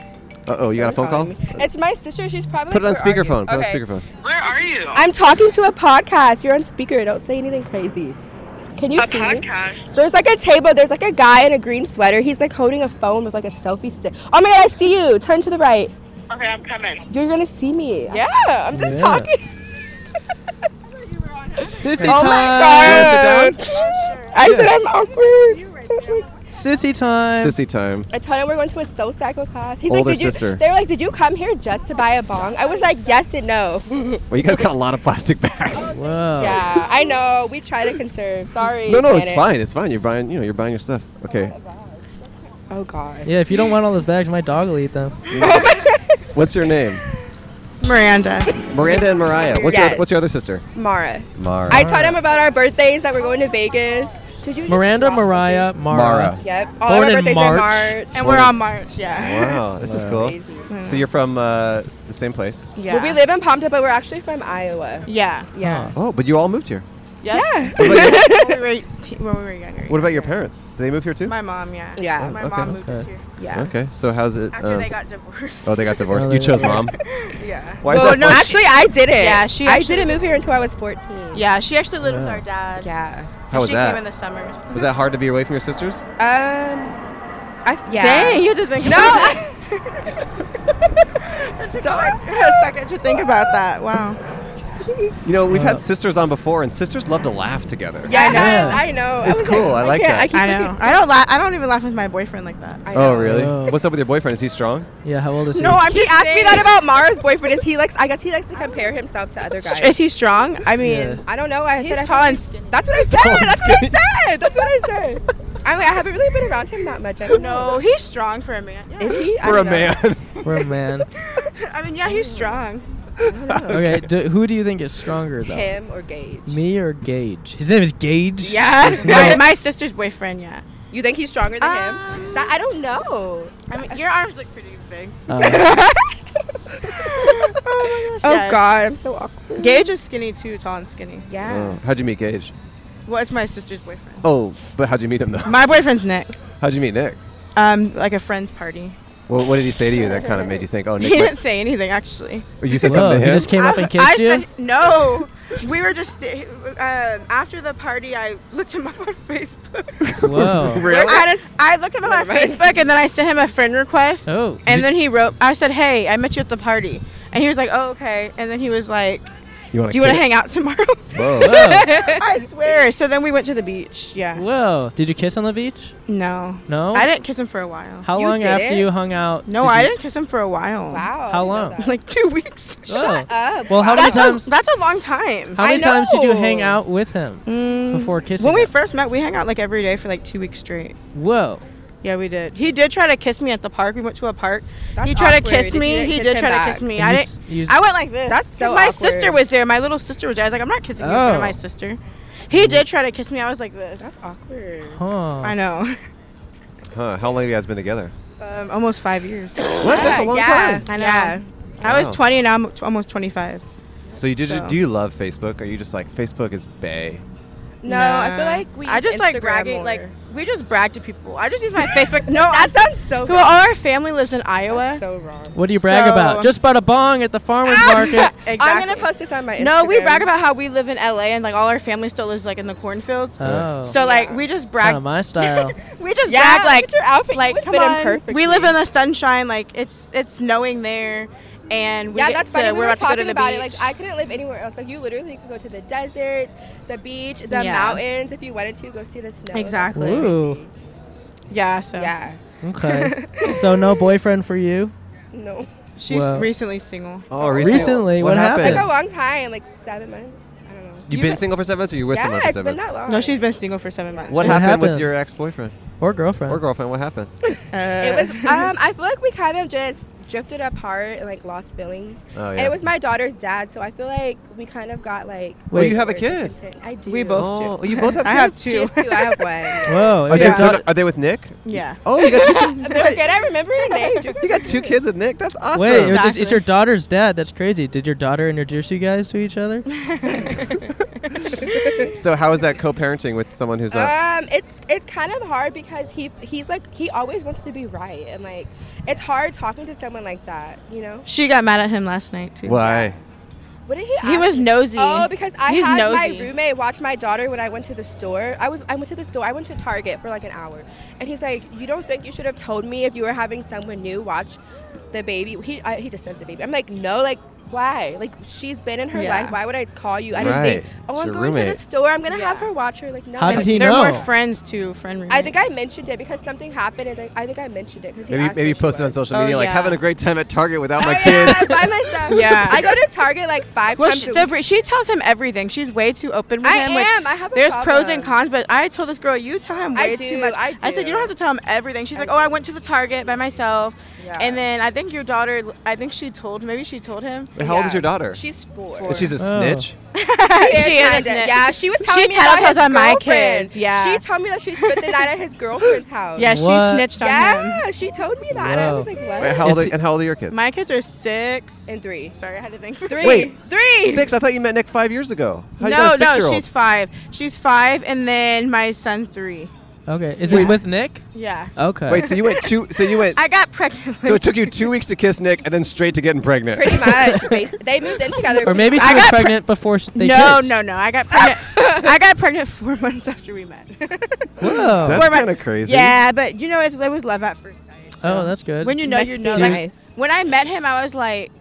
Speaker 2: Uh oh, you got a phone
Speaker 6: Someone's
Speaker 2: call?
Speaker 6: calling me. It's my sister. She's probably.
Speaker 2: Put it on
Speaker 6: like, "Where are
Speaker 2: speakerphone.
Speaker 6: you?"
Speaker 2: Put it on
Speaker 6: Okay.
Speaker 2: speakerphone.
Speaker 7: Where are you?
Speaker 6: I'm talking to a podcast. You're on speaker. Don't say anything crazy. Can you
Speaker 7: a
Speaker 6: see me?
Speaker 7: podcast.
Speaker 6: There's like a table. There's like a guy in a green sweater. He's like holding a phone with like a selfie stick. Oh my god, I see you. Turn to the right.
Speaker 7: Okay, I'm coming.
Speaker 6: You're gonna see me. Yeah, I'm just
Speaker 1: Yeah.
Speaker 2: [LAUGHS]
Speaker 6: talking.
Speaker 1: Sissy
Speaker 6: Oh my
Speaker 1: time.
Speaker 6: god. I said I'm awkward.
Speaker 1: Sissy
Speaker 6: Um,
Speaker 1: time.
Speaker 2: Sissy time.
Speaker 6: I told him we're going to a soul cycle class. He's
Speaker 2: Older
Speaker 6: like, did you?
Speaker 2: sister.
Speaker 6: They were like, did you come here just to buy a bong? I was like, yes and no.
Speaker 2: Well, you guys got a lot of plastic bags.
Speaker 6: Oh,
Speaker 1: Wow.
Speaker 6: yeah, I know. We try to conserve. Sorry.
Speaker 2: [LAUGHS] Oh. No, no, it's
Speaker 6: Janet.
Speaker 2: fine. It's fine. You're buying, you know, you're buying your stuff. Okay.
Speaker 6: Oh god.
Speaker 1: Yeah, if you don't want all those bags, my dog will eat them.
Speaker 2: What's your name?
Speaker 8: Miranda.
Speaker 2: [LAUGHS] Miranda and Mariah. What's your
Speaker 6: Yes.
Speaker 2: What's your other sister?
Speaker 6: [LAUGHS] Mara.
Speaker 2: Mara.
Speaker 6: I told him about our birthdays that we're going to Vegas. Did you? just
Speaker 1: Miranda,
Speaker 6: drop something?
Speaker 1: Mariah, Mara.
Speaker 2: Mara.
Speaker 6: Yep. All of
Speaker 1: Born
Speaker 6: our
Speaker 1: in
Speaker 6: birthdays
Speaker 1: March.
Speaker 6: are in March.
Speaker 8: and we're on March, yeah.
Speaker 2: Wow, this is cool.
Speaker 6: Crazy.
Speaker 2: So you're from uh, the same place.
Speaker 8: [LAUGHS] yeah.
Speaker 6: Well, we live in Palm Top, but we're actually from Iowa.
Speaker 8: Yeah.
Speaker 6: Yeah.
Speaker 2: Oh, but you all moved here.
Speaker 8: Yeah.
Speaker 2: What about, your,
Speaker 8: [LAUGHS] when, we were 18 when we were younger.
Speaker 2: what about your parents? Did they move here too?
Speaker 8: My mom, yeah.
Speaker 6: Yeah.
Speaker 8: My
Speaker 2: Oh, okay.
Speaker 8: mom moved us
Speaker 1: Okay.
Speaker 8: here
Speaker 6: Yeah.
Speaker 2: Okay. So how's it?
Speaker 8: after
Speaker 2: um,
Speaker 8: they got divorced.
Speaker 2: oh, they got divorced.
Speaker 1: Oh,
Speaker 2: you
Speaker 1: they
Speaker 2: chose
Speaker 1: got-
Speaker 2: mom.
Speaker 8: yeah.
Speaker 2: Why is
Speaker 6: well,
Speaker 2: that?
Speaker 6: no,
Speaker 2: funny?
Speaker 6: actually, I didn't.
Speaker 8: Yeah, she
Speaker 6: I
Speaker 8: actually-
Speaker 6: didn't move here until I was 14.
Speaker 8: [LAUGHS] Yeah, she actually lived with our dad.
Speaker 6: Yeah.
Speaker 2: How was
Speaker 8: she
Speaker 2: that?
Speaker 8: came in the summers.
Speaker 2: was that hard to be away from your sisters?
Speaker 6: Um. I, yeah.
Speaker 8: Dang, you had to think [LAUGHS]
Speaker 6: No.
Speaker 8: about
Speaker 6: [LAUGHS] I-
Speaker 8: that. a second to think about that. Wow.
Speaker 2: You know, we've
Speaker 1: Uh,
Speaker 2: had sisters on before, and sisters love to laugh together.
Speaker 6: Yeah, I know.
Speaker 1: Yeah.
Speaker 6: I know.
Speaker 2: It's
Speaker 6: I was
Speaker 2: cool, I like
Speaker 6: can't-
Speaker 2: that.
Speaker 6: I,
Speaker 8: I
Speaker 6: can't
Speaker 8: know. I don't laugh. I don't even laugh with my boyfriend like that.
Speaker 6: I
Speaker 2: Oh,
Speaker 6: know.
Speaker 2: really?
Speaker 1: Oh.
Speaker 2: What's up with your boyfriend? Is he strong?
Speaker 1: Yeah, how old is he?
Speaker 8: No, I'm
Speaker 6: He
Speaker 8: just
Speaker 6: asked me
Speaker 8: saying.
Speaker 6: that about Mara's boyfriend. Is he likes? I guess he likes to compare himself to other
Speaker 8: Is
Speaker 6: guys.
Speaker 8: he strong? I mean,
Speaker 1: Yeah.
Speaker 6: I don't know. I
Speaker 8: He's
Speaker 6: said I
Speaker 8: tall
Speaker 6: think
Speaker 8: and
Speaker 6: he's-
Speaker 8: skinny.
Speaker 6: That's what I said. That's what I said. That's what I said.
Speaker 8: [LAUGHS]
Speaker 6: I mean, I haven't really been around him that much. I don't
Speaker 8: no,
Speaker 6: know.
Speaker 8: he's strong for a man. Yeah.
Speaker 6: Is he? I
Speaker 2: For a
Speaker 6: don't know.
Speaker 8: [LAUGHS]
Speaker 2: man.
Speaker 1: We're a man.
Speaker 8: I mean, yeah, he's strong.
Speaker 1: Okay, do, who do you think is stronger, though?
Speaker 6: Him or Gage?
Speaker 1: Me or Gage? His name is Gage?
Speaker 6: [LAUGHS]
Speaker 8: [LAUGHS]
Speaker 6: Yeah.
Speaker 8: My, my sister's boyfriend, yeah.
Speaker 6: You think he's stronger than him?
Speaker 8: Um,
Speaker 6: That, I don't
Speaker 8: [LAUGHS]
Speaker 6: know.
Speaker 8: I mean, your arms look pretty big.
Speaker 1: Uh,
Speaker 8: oh
Speaker 6: Oh
Speaker 8: yes.
Speaker 6: God, I'm so awkward.
Speaker 8: Gage is skinny too, tall and skinny.
Speaker 6: Yeah.
Speaker 2: Oh, how'd you meet Gage?
Speaker 8: Well, it's my sister's boyfriend.
Speaker 2: Oh, but how'd you meet him though?
Speaker 8: My boyfriend's Nick.
Speaker 2: [LAUGHS] How'd you meet Nick?
Speaker 8: Um, like a friend's party.
Speaker 2: Well, what did he say to you that kind of made you think, oh,
Speaker 8: [LAUGHS] He
Speaker 2: Nick?
Speaker 8: didn't
Speaker 2: might-
Speaker 8: say anything actually.
Speaker 2: Oh, you said
Speaker 1: Whoa,
Speaker 2: something to
Speaker 1: he
Speaker 2: him?
Speaker 1: just
Speaker 2: [LAUGHS]
Speaker 1: came up and kissed
Speaker 8: I
Speaker 1: you?
Speaker 8: Said, no. We were just sta- um, after the party. I looked him up on Facebook.
Speaker 2: [LAUGHS]
Speaker 1: whoa.
Speaker 6: Really? I had a s-
Speaker 8: I looked him up on
Speaker 6: Never mind.
Speaker 8: Facebook, and then I sent him a friend request.
Speaker 1: Oh.
Speaker 8: And then he wrote. I said, "Hey, I met you at the party," and he was like, "Oh, okay." And then he was like,
Speaker 2: want
Speaker 8: "Do you want to hang out tomorrow?"
Speaker 2: Whoa.
Speaker 1: Whoa.
Speaker 8: [LAUGHS] I swear. So then we went to the beach. Yeah.
Speaker 1: Whoa. Did you kiss on the beach?
Speaker 8: No.
Speaker 1: No?
Speaker 8: I didn't kiss him for a while.
Speaker 1: How
Speaker 6: You
Speaker 1: long
Speaker 6: did
Speaker 1: after
Speaker 6: it?
Speaker 1: you hung out?
Speaker 8: no,
Speaker 1: did
Speaker 8: I
Speaker 1: you-
Speaker 8: didn't kiss him for a while.
Speaker 6: Wow.
Speaker 1: How
Speaker 6: I
Speaker 1: long?
Speaker 6: didn't know that.
Speaker 8: [LAUGHS] Like two weeks.
Speaker 1: Oh.
Speaker 6: up.
Speaker 1: Well, how many
Speaker 8: That's a-
Speaker 1: times?
Speaker 8: That's a long time.
Speaker 1: How
Speaker 6: I
Speaker 1: many times did you hang
Speaker 6: know.
Speaker 1: out with him
Speaker 8: Mm,
Speaker 1: before kissing?
Speaker 8: When we
Speaker 1: him?
Speaker 8: first met, we hung out like every day for like two weeks straight.
Speaker 1: whoa.
Speaker 8: Yeah, we did. He did try to kiss me at the park. We went to a park.
Speaker 6: That's
Speaker 8: he tried
Speaker 6: awkward
Speaker 8: to kiss
Speaker 6: if you
Speaker 8: me.
Speaker 6: didn't
Speaker 8: He
Speaker 6: kiss
Speaker 8: did
Speaker 6: him
Speaker 8: try to
Speaker 6: back.
Speaker 8: kiss me.
Speaker 1: You
Speaker 8: I
Speaker 1: s-
Speaker 8: didn't.
Speaker 1: you s-
Speaker 8: I went like this.
Speaker 6: That's
Speaker 8: 'cause
Speaker 6: so
Speaker 8: My
Speaker 6: awkward.
Speaker 8: sister was there. My little sister was there. I was like, I'm not kissing you in front
Speaker 1: Oh.
Speaker 8: of my sister. He did try to kiss me. I was like this.
Speaker 6: That's awkward.
Speaker 1: Huh.
Speaker 8: I know.
Speaker 2: Huh, how long have you guys been
Speaker 8: [LAUGHS]
Speaker 2: together?
Speaker 1: Oh.
Speaker 8: Um, almost
Speaker 1: [COUGHS]
Speaker 8: five years.
Speaker 2: What? That's a long
Speaker 6: yeah,
Speaker 2: time.
Speaker 8: I know.
Speaker 6: Yeah.
Speaker 8: I
Speaker 2: Wow.
Speaker 8: was 20 and I'm t- almost 25.
Speaker 2: So you did?
Speaker 8: So-
Speaker 2: Do you love Facebook? Or are you just like Facebook is bay?
Speaker 6: No, I feel
Speaker 8: Nah.
Speaker 6: like we.
Speaker 8: I
Speaker 6: use
Speaker 8: just like
Speaker 6: Instagram
Speaker 8: bragging.
Speaker 6: more.
Speaker 8: Like we just brag to people. I just
Speaker 6: [LAUGHS]
Speaker 8: use my Facebook. No, I-
Speaker 6: that sounds so.
Speaker 8: [LAUGHS] well, all our family lives in Iowa.
Speaker 6: That's so wrong.
Speaker 1: What do you brag
Speaker 8: So- Ah!
Speaker 1: about? Just bought a bong at the farmer's
Speaker 8: [LAUGHS]
Speaker 1: market.
Speaker 6: I'm gonna post this on my. Instagram.
Speaker 8: No, we brag about how we live in LA and like all our family still lives like in the cornfields.
Speaker 1: Oh.
Speaker 8: so like we just brag.
Speaker 1: kind of my
Speaker 8: [LAUGHS]
Speaker 1: style.
Speaker 8: we just
Speaker 6: Yeah,
Speaker 8: brag
Speaker 6: look
Speaker 8: like
Speaker 6: at your outfit. You
Speaker 8: like
Speaker 6: would
Speaker 8: come
Speaker 6: fit in
Speaker 8: on.
Speaker 6: perfectly.
Speaker 8: We live in the sunshine. Like it's it's snowing there, and we
Speaker 6: yeah,
Speaker 8: get
Speaker 6: that's
Speaker 8: to,
Speaker 6: funny. We
Speaker 8: we're
Speaker 6: were
Speaker 8: about to go
Speaker 6: talking
Speaker 8: to the
Speaker 6: about
Speaker 8: beach.
Speaker 6: it. Like I couldn't live anywhere else. Like you literally could go to the desert, the beach, the
Speaker 8: Yeah.
Speaker 6: mountains if you wanted to go see the snow. That's
Speaker 8: Exactly.
Speaker 6: crazy.
Speaker 1: Ooh.
Speaker 8: yeah, so
Speaker 6: Yeah.
Speaker 8: [LAUGHS]
Speaker 1: Okay. so no boyfriend for you?
Speaker 6: No.
Speaker 8: she's
Speaker 1: Wow.
Speaker 8: recently single.
Speaker 2: Oh,
Speaker 1: recently- Recently? What
Speaker 6: Like
Speaker 1: happened?
Speaker 6: a long time, like seven months. I don't know.
Speaker 2: You've been single for seven months, or you were
Speaker 6: yeah,
Speaker 2: single for
Speaker 6: it's
Speaker 2: seven
Speaker 6: been
Speaker 2: months?
Speaker 6: that long.
Speaker 8: No, she's been single for seven months.
Speaker 2: What,
Speaker 1: What
Speaker 2: happened, with
Speaker 1: happened?
Speaker 2: your ex-boyfriend?
Speaker 1: Or girlfriend.
Speaker 2: Or girlfriend, what happened?
Speaker 8: Uh,
Speaker 6: It was. Um, I feel like we kind of just drifted apart and like lost feelings.
Speaker 2: Oh,
Speaker 6: And
Speaker 2: yeah.
Speaker 6: it was my daughter's dad, so I feel like we kind of got like.
Speaker 2: Well, you
Speaker 1: Wait.
Speaker 2: have a
Speaker 6: weird
Speaker 2: kid.
Speaker 6: content- I do.
Speaker 8: [LAUGHS] We both
Speaker 2: Oh,
Speaker 8: do.
Speaker 2: you both have
Speaker 8: I have
Speaker 2: kids?
Speaker 6: uh, She
Speaker 8: two.
Speaker 6: has two. I have
Speaker 2: [LAUGHS]
Speaker 6: one.
Speaker 1: Whoa.
Speaker 2: Are,
Speaker 1: is
Speaker 2: they,
Speaker 1: your
Speaker 2: are
Speaker 1: daughter-
Speaker 2: they- are they with Nick?
Speaker 8: [LAUGHS] Yeah.
Speaker 2: Oh, you got
Speaker 6: [LAUGHS]
Speaker 2: two,
Speaker 6: They're good. I remember her name.
Speaker 2: you got two kids with Nick. That's
Speaker 8: [LAUGHS]
Speaker 2: awesome.
Speaker 1: Wait, it's- it's,
Speaker 8: Exactly.
Speaker 1: it's your daughter's dad. That's crazy. Did your daughter introduce you guys to each
Speaker 8: [LAUGHS]
Speaker 1: other?
Speaker 2: so how is that co-parenting with someone who's not?
Speaker 6: Um, it's it's kind of hard because he he's like he always wants to be right and like it's hard talking to someone like that, you know.
Speaker 8: She got mad at him last night too.
Speaker 2: Why?
Speaker 6: What did he?
Speaker 8: He
Speaker 6: ask-
Speaker 8: was nosy.
Speaker 6: Oh, because I
Speaker 8: He's
Speaker 6: had
Speaker 8: nosy.
Speaker 6: my roommate watch my daughter when I went to the store. I was I went to the store. I went to Target for like an hour, and he's like, "You don't think you should have told me if you were having someone new watch the baby?" He I, he just says the baby. I'm like, "No, like." Why? Like she's been in her
Speaker 8: Yeah.
Speaker 6: life. Why would I call you? I didn't
Speaker 2: Right.
Speaker 6: think. Oh,
Speaker 2: It's
Speaker 6: I'm
Speaker 2: your
Speaker 6: going to
Speaker 2: roommate.
Speaker 6: the store. I'm gonna have
Speaker 8: Yeah.
Speaker 6: her watch her. Like no.
Speaker 1: How did he
Speaker 8: They're
Speaker 1: know?
Speaker 8: more friends too. Friend roommates.
Speaker 6: I think I mentioned it because something happened, and I- I think I mentioned it because he
Speaker 2: Maybe
Speaker 6: asked
Speaker 2: maybe
Speaker 6: what she
Speaker 2: post it on
Speaker 6: was.
Speaker 2: social
Speaker 8: Oh,
Speaker 2: media like
Speaker 8: yeah.
Speaker 2: having a great time at Target without my
Speaker 6: Oh,
Speaker 2: kid.
Speaker 6: [LAUGHS] Yeah, by myself.
Speaker 8: Yeah.
Speaker 6: I go to Target like five
Speaker 8: Well,
Speaker 6: times.
Speaker 8: she,
Speaker 6: a
Speaker 8: the,
Speaker 6: week.
Speaker 8: she tells him everything. She's way too open with
Speaker 6: I
Speaker 8: him. which-
Speaker 6: am. I have a
Speaker 8: There's pros
Speaker 6: problem.
Speaker 8: and cons, but I told this girl, you tell him
Speaker 6: I
Speaker 8: way
Speaker 6: do,
Speaker 8: too much.
Speaker 6: I
Speaker 8: said, you
Speaker 6: do.
Speaker 8: don't have to tell him everything. She's like, oh, I went to the Target by myself.
Speaker 6: Yeah.
Speaker 8: And then I think your daughter, I think she told, maybe she told him.
Speaker 2: Wait, how old is
Speaker 6: Yeah.
Speaker 2: your daughter?
Speaker 6: She's four.
Speaker 2: And she's a
Speaker 1: Oh.
Speaker 2: snitch.
Speaker 6: [LAUGHS] she is
Speaker 8: She is,
Speaker 6: kinda-
Speaker 8: isn't it?
Speaker 6: Yeah, she was
Speaker 8: She
Speaker 6: telling me about
Speaker 8: tattletales
Speaker 6: his
Speaker 8: on my
Speaker 6: girlfriend.
Speaker 8: kids, yeah.
Speaker 6: she told me that she spent the night at his girlfriend's house.
Speaker 8: Yeah,
Speaker 1: What?
Speaker 8: she snitched on him.
Speaker 6: yeah, she told me that, and I
Speaker 1: Wow.
Speaker 6: was like, what?
Speaker 2: Wait, how old
Speaker 1: Is
Speaker 2: are,
Speaker 1: he-
Speaker 2: and how old are your kids?
Speaker 8: My kids are six
Speaker 6: And three.
Speaker 8: Sorry, I had to think. for-
Speaker 6: Three.
Speaker 2: Wait.
Speaker 6: [LAUGHS] Three.
Speaker 2: Six? I thought you met Nick five years ago. How you
Speaker 8: No,
Speaker 2: got a
Speaker 8: no,
Speaker 2: six-year-old?
Speaker 8: she's five. She's five, and then my son's three.
Speaker 1: Okay. Is this with Nick?
Speaker 8: Yeah.
Speaker 1: Okay.
Speaker 2: Wait, so you went two? So you went?
Speaker 8: I got pregnant.
Speaker 2: so
Speaker 8: [LAUGHS]
Speaker 2: it took you two weeks to kiss Nick, and then straight to getting pregnant.
Speaker 6: Pretty much. Bas- they moved in together.
Speaker 1: or maybe she
Speaker 8: I
Speaker 1: was
Speaker 8: got pre-
Speaker 1: pregnant before sh- they
Speaker 8: no,
Speaker 1: kissed.
Speaker 8: no, no. I got pregnant. I got pregnant four months after we met. [LAUGHS]
Speaker 1: Whoa.
Speaker 2: That's
Speaker 8: my-
Speaker 2: kind of crazy.
Speaker 8: yeah, but you know, it's, it was love at first sight.
Speaker 1: oh, that's good.
Speaker 8: When you know, you know.
Speaker 6: Must be
Speaker 8: Like,
Speaker 6: nice.
Speaker 8: When I met him, I was like,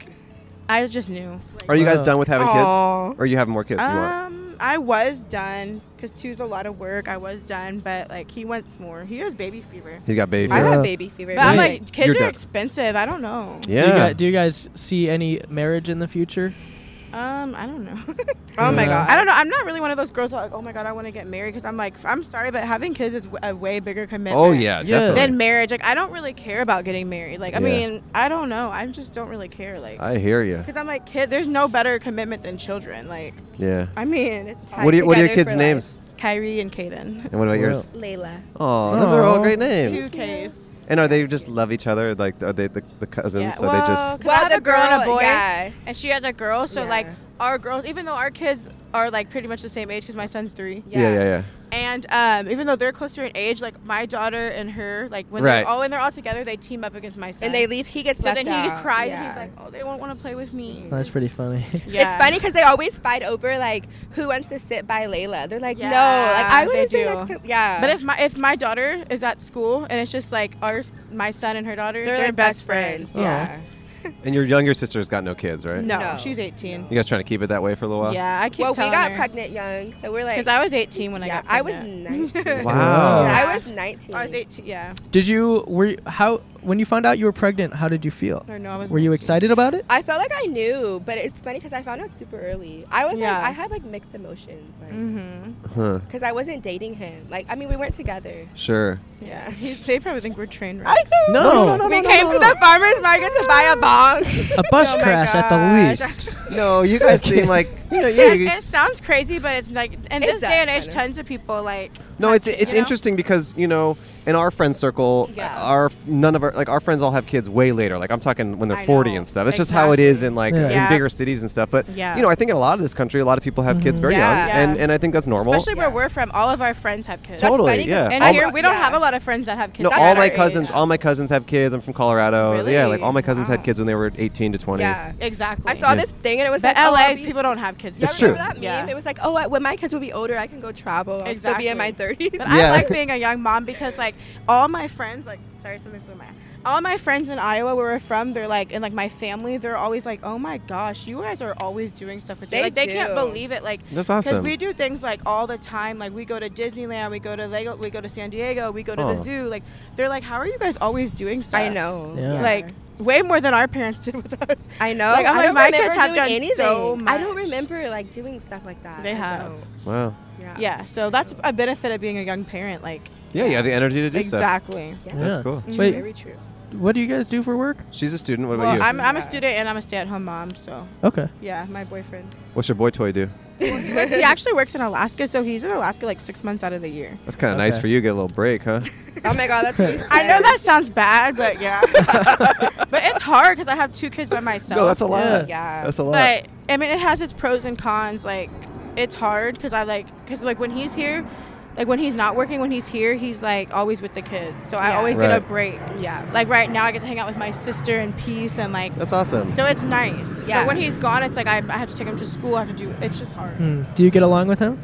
Speaker 8: I just knew.
Speaker 2: Are you guys
Speaker 1: Wow.
Speaker 2: done with having
Speaker 8: Aw.
Speaker 2: kids? Or are you having more kids? you want?
Speaker 8: Um, I was done because two's a lot of work. I was done, but like he wants more. He has baby fever.
Speaker 2: He's got baby.
Speaker 6: I
Speaker 2: fever.
Speaker 1: Yeah.
Speaker 6: have baby fever.
Speaker 8: But I'm
Speaker 1: Wait.
Speaker 8: like, kids
Speaker 2: You're
Speaker 8: are
Speaker 2: done.
Speaker 8: expensive. I don't know.
Speaker 2: yeah.
Speaker 1: Do you, guys, do you guys see any marriage in the future?
Speaker 8: Um, I don't know. [LAUGHS]
Speaker 6: oh my
Speaker 1: Yeah.
Speaker 6: god.
Speaker 8: I don't know. I'm not really one of those girls that like, oh my god, I want to get married because I'm like, I'm sorry, but having kids is w- a way bigger commitment.
Speaker 2: oh yeah,
Speaker 1: Yeah.
Speaker 2: definitely.
Speaker 8: Than marriage. Like I don't really care about getting married. Like I
Speaker 2: Yeah.
Speaker 8: mean, I don't know. I just don't really care. Like
Speaker 2: I hear you.
Speaker 8: because I'm like, kid, there's no better commitment than children. Like
Speaker 2: Yeah.
Speaker 8: I mean, it's
Speaker 6: Tied
Speaker 2: What are you, what are your
Speaker 6: together
Speaker 2: kids'
Speaker 6: for
Speaker 2: names?
Speaker 8: Kyrie and Kaden.
Speaker 2: [LAUGHS] And what about yours?
Speaker 1: Well,
Speaker 6: Layla.
Speaker 2: Oh, those are all
Speaker 1: Aw.
Speaker 2: great
Speaker 8: Two
Speaker 2: names.
Speaker 8: K's.
Speaker 2: And are they just love each other? Like, are they the, the cousins?
Speaker 8: Yeah.
Speaker 2: So
Speaker 8: well,
Speaker 2: they just
Speaker 8: 'cause I have a girl and a boy,
Speaker 6: Yeah.
Speaker 8: and she has a girl. So
Speaker 6: Yeah.
Speaker 8: like our girls, even though our kids are like pretty much the same age, because my son's three,
Speaker 2: yeah, yeah, yeah.
Speaker 8: and um, even though they're closer in age, like my daughter and her, like when
Speaker 2: Right.
Speaker 8: they're all when they're all together, they team up against my son.
Speaker 6: And they leave. He gets
Speaker 8: so
Speaker 6: left
Speaker 8: then he
Speaker 6: out.
Speaker 8: cries
Speaker 6: Yeah.
Speaker 8: and he's like, oh, they won't want to play with me.
Speaker 1: That's pretty funny.
Speaker 8: Yeah.
Speaker 6: It's funny because they always fight over like who wants to sit by Layla. They're like, no, like
Speaker 8: Yeah,
Speaker 6: I
Speaker 8: they
Speaker 6: want to sit
Speaker 8: do.
Speaker 6: next to. Yeah.
Speaker 8: But if my if my daughter is at school and it's just like our s- my son and her daughter,
Speaker 6: they're, like best friends,
Speaker 1: Oh.
Speaker 6: yeah.
Speaker 2: And your younger sister's got no kids, right?
Speaker 8: No,
Speaker 6: No.
Speaker 8: she's 18.
Speaker 2: You guys trying to keep it that way for a little while?
Speaker 8: Yeah, I keep
Speaker 6: Well, we
Speaker 8: telling
Speaker 6: got pregnant young, so we're like.
Speaker 8: because I was 18 when
Speaker 6: yeah,
Speaker 8: I
Speaker 6: I
Speaker 8: got
Speaker 6: was
Speaker 8: pregnant. [LAUGHS]
Speaker 6: 19.
Speaker 2: Wow.
Speaker 1: Yeah.
Speaker 6: I was 19.
Speaker 8: I was 18. Yeah.
Speaker 1: [LAUGHS] Did you were you- how when you found out you were pregnant? How did you feel?
Speaker 8: Or no, I was
Speaker 1: Were you
Speaker 8: 19.
Speaker 1: excited about
Speaker 8: [LAUGHS]
Speaker 1: it?
Speaker 6: I felt like I knew, but it's funny because I found out super early. I was
Speaker 8: Yeah.
Speaker 6: like, I had like mixed emotions, like
Speaker 8: Mm-hmm.
Speaker 2: Huh.
Speaker 6: because I wasn't dating him. Like, I mean, we weren't together.
Speaker 2: Sure.
Speaker 6: [LAUGHS]
Speaker 8: Yeah, [LAUGHS] he- they probably think we're train
Speaker 6: I
Speaker 8: wrecks.
Speaker 6: know.
Speaker 1: No. No, no, no,
Speaker 6: we came to the farmer's market to
Speaker 8: [LAUGHS]
Speaker 6: buy a [LAUGHS] bong.
Speaker 1: A bus
Speaker 8: Oh my
Speaker 1: crash at the
Speaker 8: gosh.
Speaker 1: least.
Speaker 2: No, you guys seem like [LAUGHS] you know, yeah, you
Speaker 8: it
Speaker 2: s-
Speaker 8: sounds crazy, but it's like in
Speaker 6: It
Speaker 8: this day
Speaker 6: does
Speaker 8: and age,
Speaker 6: kinda.
Speaker 8: tons of people like
Speaker 2: No, it's it's
Speaker 8: you know?
Speaker 2: interesting because you know in our friend circle,
Speaker 8: Yeah.
Speaker 2: our none of our like our friends all have kids way later. Like I'm talking when they're
Speaker 8: I
Speaker 2: 40
Speaker 8: know.
Speaker 2: and stuff. It's just how it is
Speaker 8: Exactly.
Speaker 2: in like
Speaker 1: Yeah.
Speaker 2: in
Speaker 8: Yeah.
Speaker 2: bigger cities and stuff. But
Speaker 8: Yeah.
Speaker 2: you know, I think in a lot of this country, a lot of people have
Speaker 1: Mm-hmm.
Speaker 2: kids very
Speaker 6: Yeah.
Speaker 2: young,
Speaker 8: Yeah.
Speaker 2: and and I think that's normal.
Speaker 8: especially where
Speaker 6: Yeah.
Speaker 8: we're from. All of our friends have kids.
Speaker 2: Totally,
Speaker 6: funny 'cause
Speaker 2: yeah.
Speaker 8: And
Speaker 2: All
Speaker 8: here
Speaker 2: my-
Speaker 8: we don't
Speaker 6: yeah.
Speaker 8: have a lot of friends that have kids.
Speaker 2: no,
Speaker 8: that
Speaker 2: all
Speaker 8: are
Speaker 2: my
Speaker 8: our
Speaker 2: cousins, all my cousins have kids. I'm from Colorado.
Speaker 8: Really?
Speaker 2: Yeah, like all my cousins had
Speaker 8: Wow.
Speaker 2: kids when they were 18 to 20.
Speaker 6: yeah.
Speaker 8: age. Exactly.
Speaker 6: I saw
Speaker 2: Yeah.
Speaker 6: this thing and it was
Speaker 8: But
Speaker 6: like, oh,
Speaker 8: LA
Speaker 6: I'll be-
Speaker 8: people don't have kids.
Speaker 6: Yeah,
Speaker 2: It's
Speaker 8: yet.
Speaker 6: remember
Speaker 2: true.
Speaker 6: that meme?
Speaker 8: Yeah.
Speaker 6: It was like, oh, I- when my kids will be older, I can go travel. I'll still be in my 30s.
Speaker 8: But
Speaker 2: Yeah.
Speaker 8: I like being a young mom because like all my friends, like sorry, something flew in my. eye. All my friends in Iowa, where we're from, they're like, and like my family, they're always like, "Oh my gosh, you guys are always doing stuff with you."
Speaker 6: They
Speaker 8: like they can't
Speaker 6: do.
Speaker 8: believe it. Like
Speaker 2: That's
Speaker 8: Because
Speaker 2: awesome.
Speaker 8: we do things like all the time. Like we go to Disneyland, we go to Lego, we go to San Diego, we go to
Speaker 2: Oh.
Speaker 8: the zoo. Like they're like, how are you guys always doing stuff?
Speaker 6: I know.
Speaker 1: [LAUGHS] Yeah.
Speaker 8: Like way more than our parents [LAUGHS] did with us.
Speaker 6: I know.
Speaker 8: Like, I'm
Speaker 6: I
Speaker 8: like,
Speaker 6: don't
Speaker 8: my
Speaker 6: remember
Speaker 8: kids have
Speaker 6: doing
Speaker 8: done
Speaker 6: anything.
Speaker 8: so
Speaker 6: I don't
Speaker 8: much.
Speaker 6: remember like doing stuff like that.
Speaker 8: They
Speaker 6: I
Speaker 8: have.
Speaker 6: don't.
Speaker 2: Wow.
Speaker 6: Yeah.
Speaker 8: Yeah. So that's a benefit of being a young parent. Like
Speaker 2: Yeah, you have the energy to do
Speaker 8: exactly.
Speaker 2: stuff. That's
Speaker 1: Yeah.
Speaker 2: cool.
Speaker 8: Mhm.
Speaker 1: Wait,
Speaker 6: Very
Speaker 8: [LAUGHS]
Speaker 6: true. [LAUGHS]
Speaker 1: what do you guys do for work?
Speaker 2: She's a student. What about
Speaker 8: Well,
Speaker 2: you?
Speaker 8: I'm, I'm a
Speaker 6: Yeah.
Speaker 8: student and I'm a stay-at-home mom, so
Speaker 1: Okay.
Speaker 8: yeah, my
Speaker 6: [LAUGHS]
Speaker 8: boyfriend.
Speaker 2: What's your boy toy do?
Speaker 8: He, works, he actually works in Alaska, so he's in Alaska like six months out of the year.
Speaker 2: That's kind of nice
Speaker 1: Okay.
Speaker 2: for you. Get a little break,
Speaker 8: [LAUGHS]
Speaker 2: huh?
Speaker 6: Oh my
Speaker 1: [LAUGHS]
Speaker 6: god, that's what he said.
Speaker 8: I know that sounds bad, but
Speaker 6: [LAUGHS]
Speaker 8: yeah, but it's hard because I have two kids by myself.
Speaker 2: no, that's a lot.
Speaker 1: Yeah.
Speaker 6: Yeah.
Speaker 2: That's a lot.
Speaker 8: But I mean, it has its pros and cons. Like, it's hard because I like because like when he's here, like when he's not working, when he's here, he's like always with the kids. So I
Speaker 6: Yeah.
Speaker 8: always get a
Speaker 2: Right.
Speaker 8: break. [LAUGHS]
Speaker 6: Yeah.
Speaker 8: Like right now, I get to hang out with my sister in peace and like.
Speaker 2: That's awesome.
Speaker 8: So it's nice.
Speaker 6: Yeah.
Speaker 8: But when he's gone, it's like I, I have to take him to school. I have to do. It's just hard.
Speaker 1: Hmm. Do you get along with him?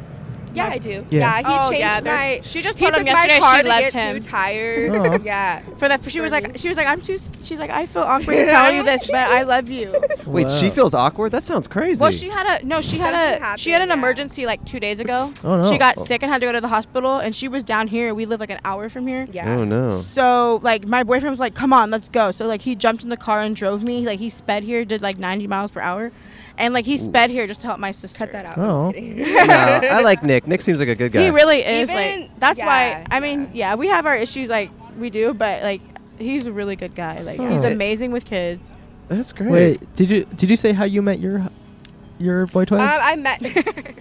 Speaker 6: Yeah, I do.
Speaker 1: Yeah.
Speaker 6: Yeah, he
Speaker 8: Oh,
Speaker 6: changed
Speaker 8: yeah, there's-
Speaker 6: my.
Speaker 8: she just
Speaker 6: he
Speaker 8: told him
Speaker 6: took my
Speaker 8: yesterday
Speaker 6: car
Speaker 8: she
Speaker 6: to get
Speaker 8: left
Speaker 6: new
Speaker 8: him.
Speaker 6: tires.
Speaker 1: Oh.
Speaker 6: [LAUGHS] Yeah.
Speaker 8: For that, she was
Speaker 6: For
Speaker 8: like,
Speaker 6: me.
Speaker 8: she was like, I'm too. sc- She's like,
Speaker 6: [LAUGHS]
Speaker 8: I feel awkward telling you this, but I love you.
Speaker 2: Wait, she
Speaker 1: Wow.
Speaker 2: feels awkward. That sounds crazy.
Speaker 8: Well, she had a no. She had
Speaker 6: Something
Speaker 8: a she had an
Speaker 6: happened, yeah.
Speaker 8: emergency like two days ago.
Speaker 1: Oh, no.
Speaker 8: She got
Speaker 2: Oh.
Speaker 8: sick and had to go to the hospital, and she was down here. We live like an hour from here.
Speaker 6: Yeah.
Speaker 2: Oh
Speaker 8: [LAUGHS]
Speaker 2: no.
Speaker 8: So like my boyfriend was like, "Come on, let's go." So like he jumped in the car and drove me. Like he sped here, did like 90 miles per hour, and like he sped here just to help my sister.
Speaker 6: Cut that out.
Speaker 1: Oh.
Speaker 6: I'm just kidding. [LAUGHS]
Speaker 2: no, I like Nick. Nick seems like a good guy.
Speaker 8: He really is
Speaker 6: Even-
Speaker 8: like. That's
Speaker 6: yeah,
Speaker 8: why I mean, yeah, we have our issues like we do, but like he's a really good guy. Like he's
Speaker 2: Hmm.
Speaker 1: Oh.
Speaker 8: amazing with kids.
Speaker 2: That's great.
Speaker 1: Wait, did you did you say how you met your your boy toy?
Speaker 8: Uh,
Speaker 6: Um,
Speaker 2: [LAUGHS]
Speaker 6: I met. [LAUGHS]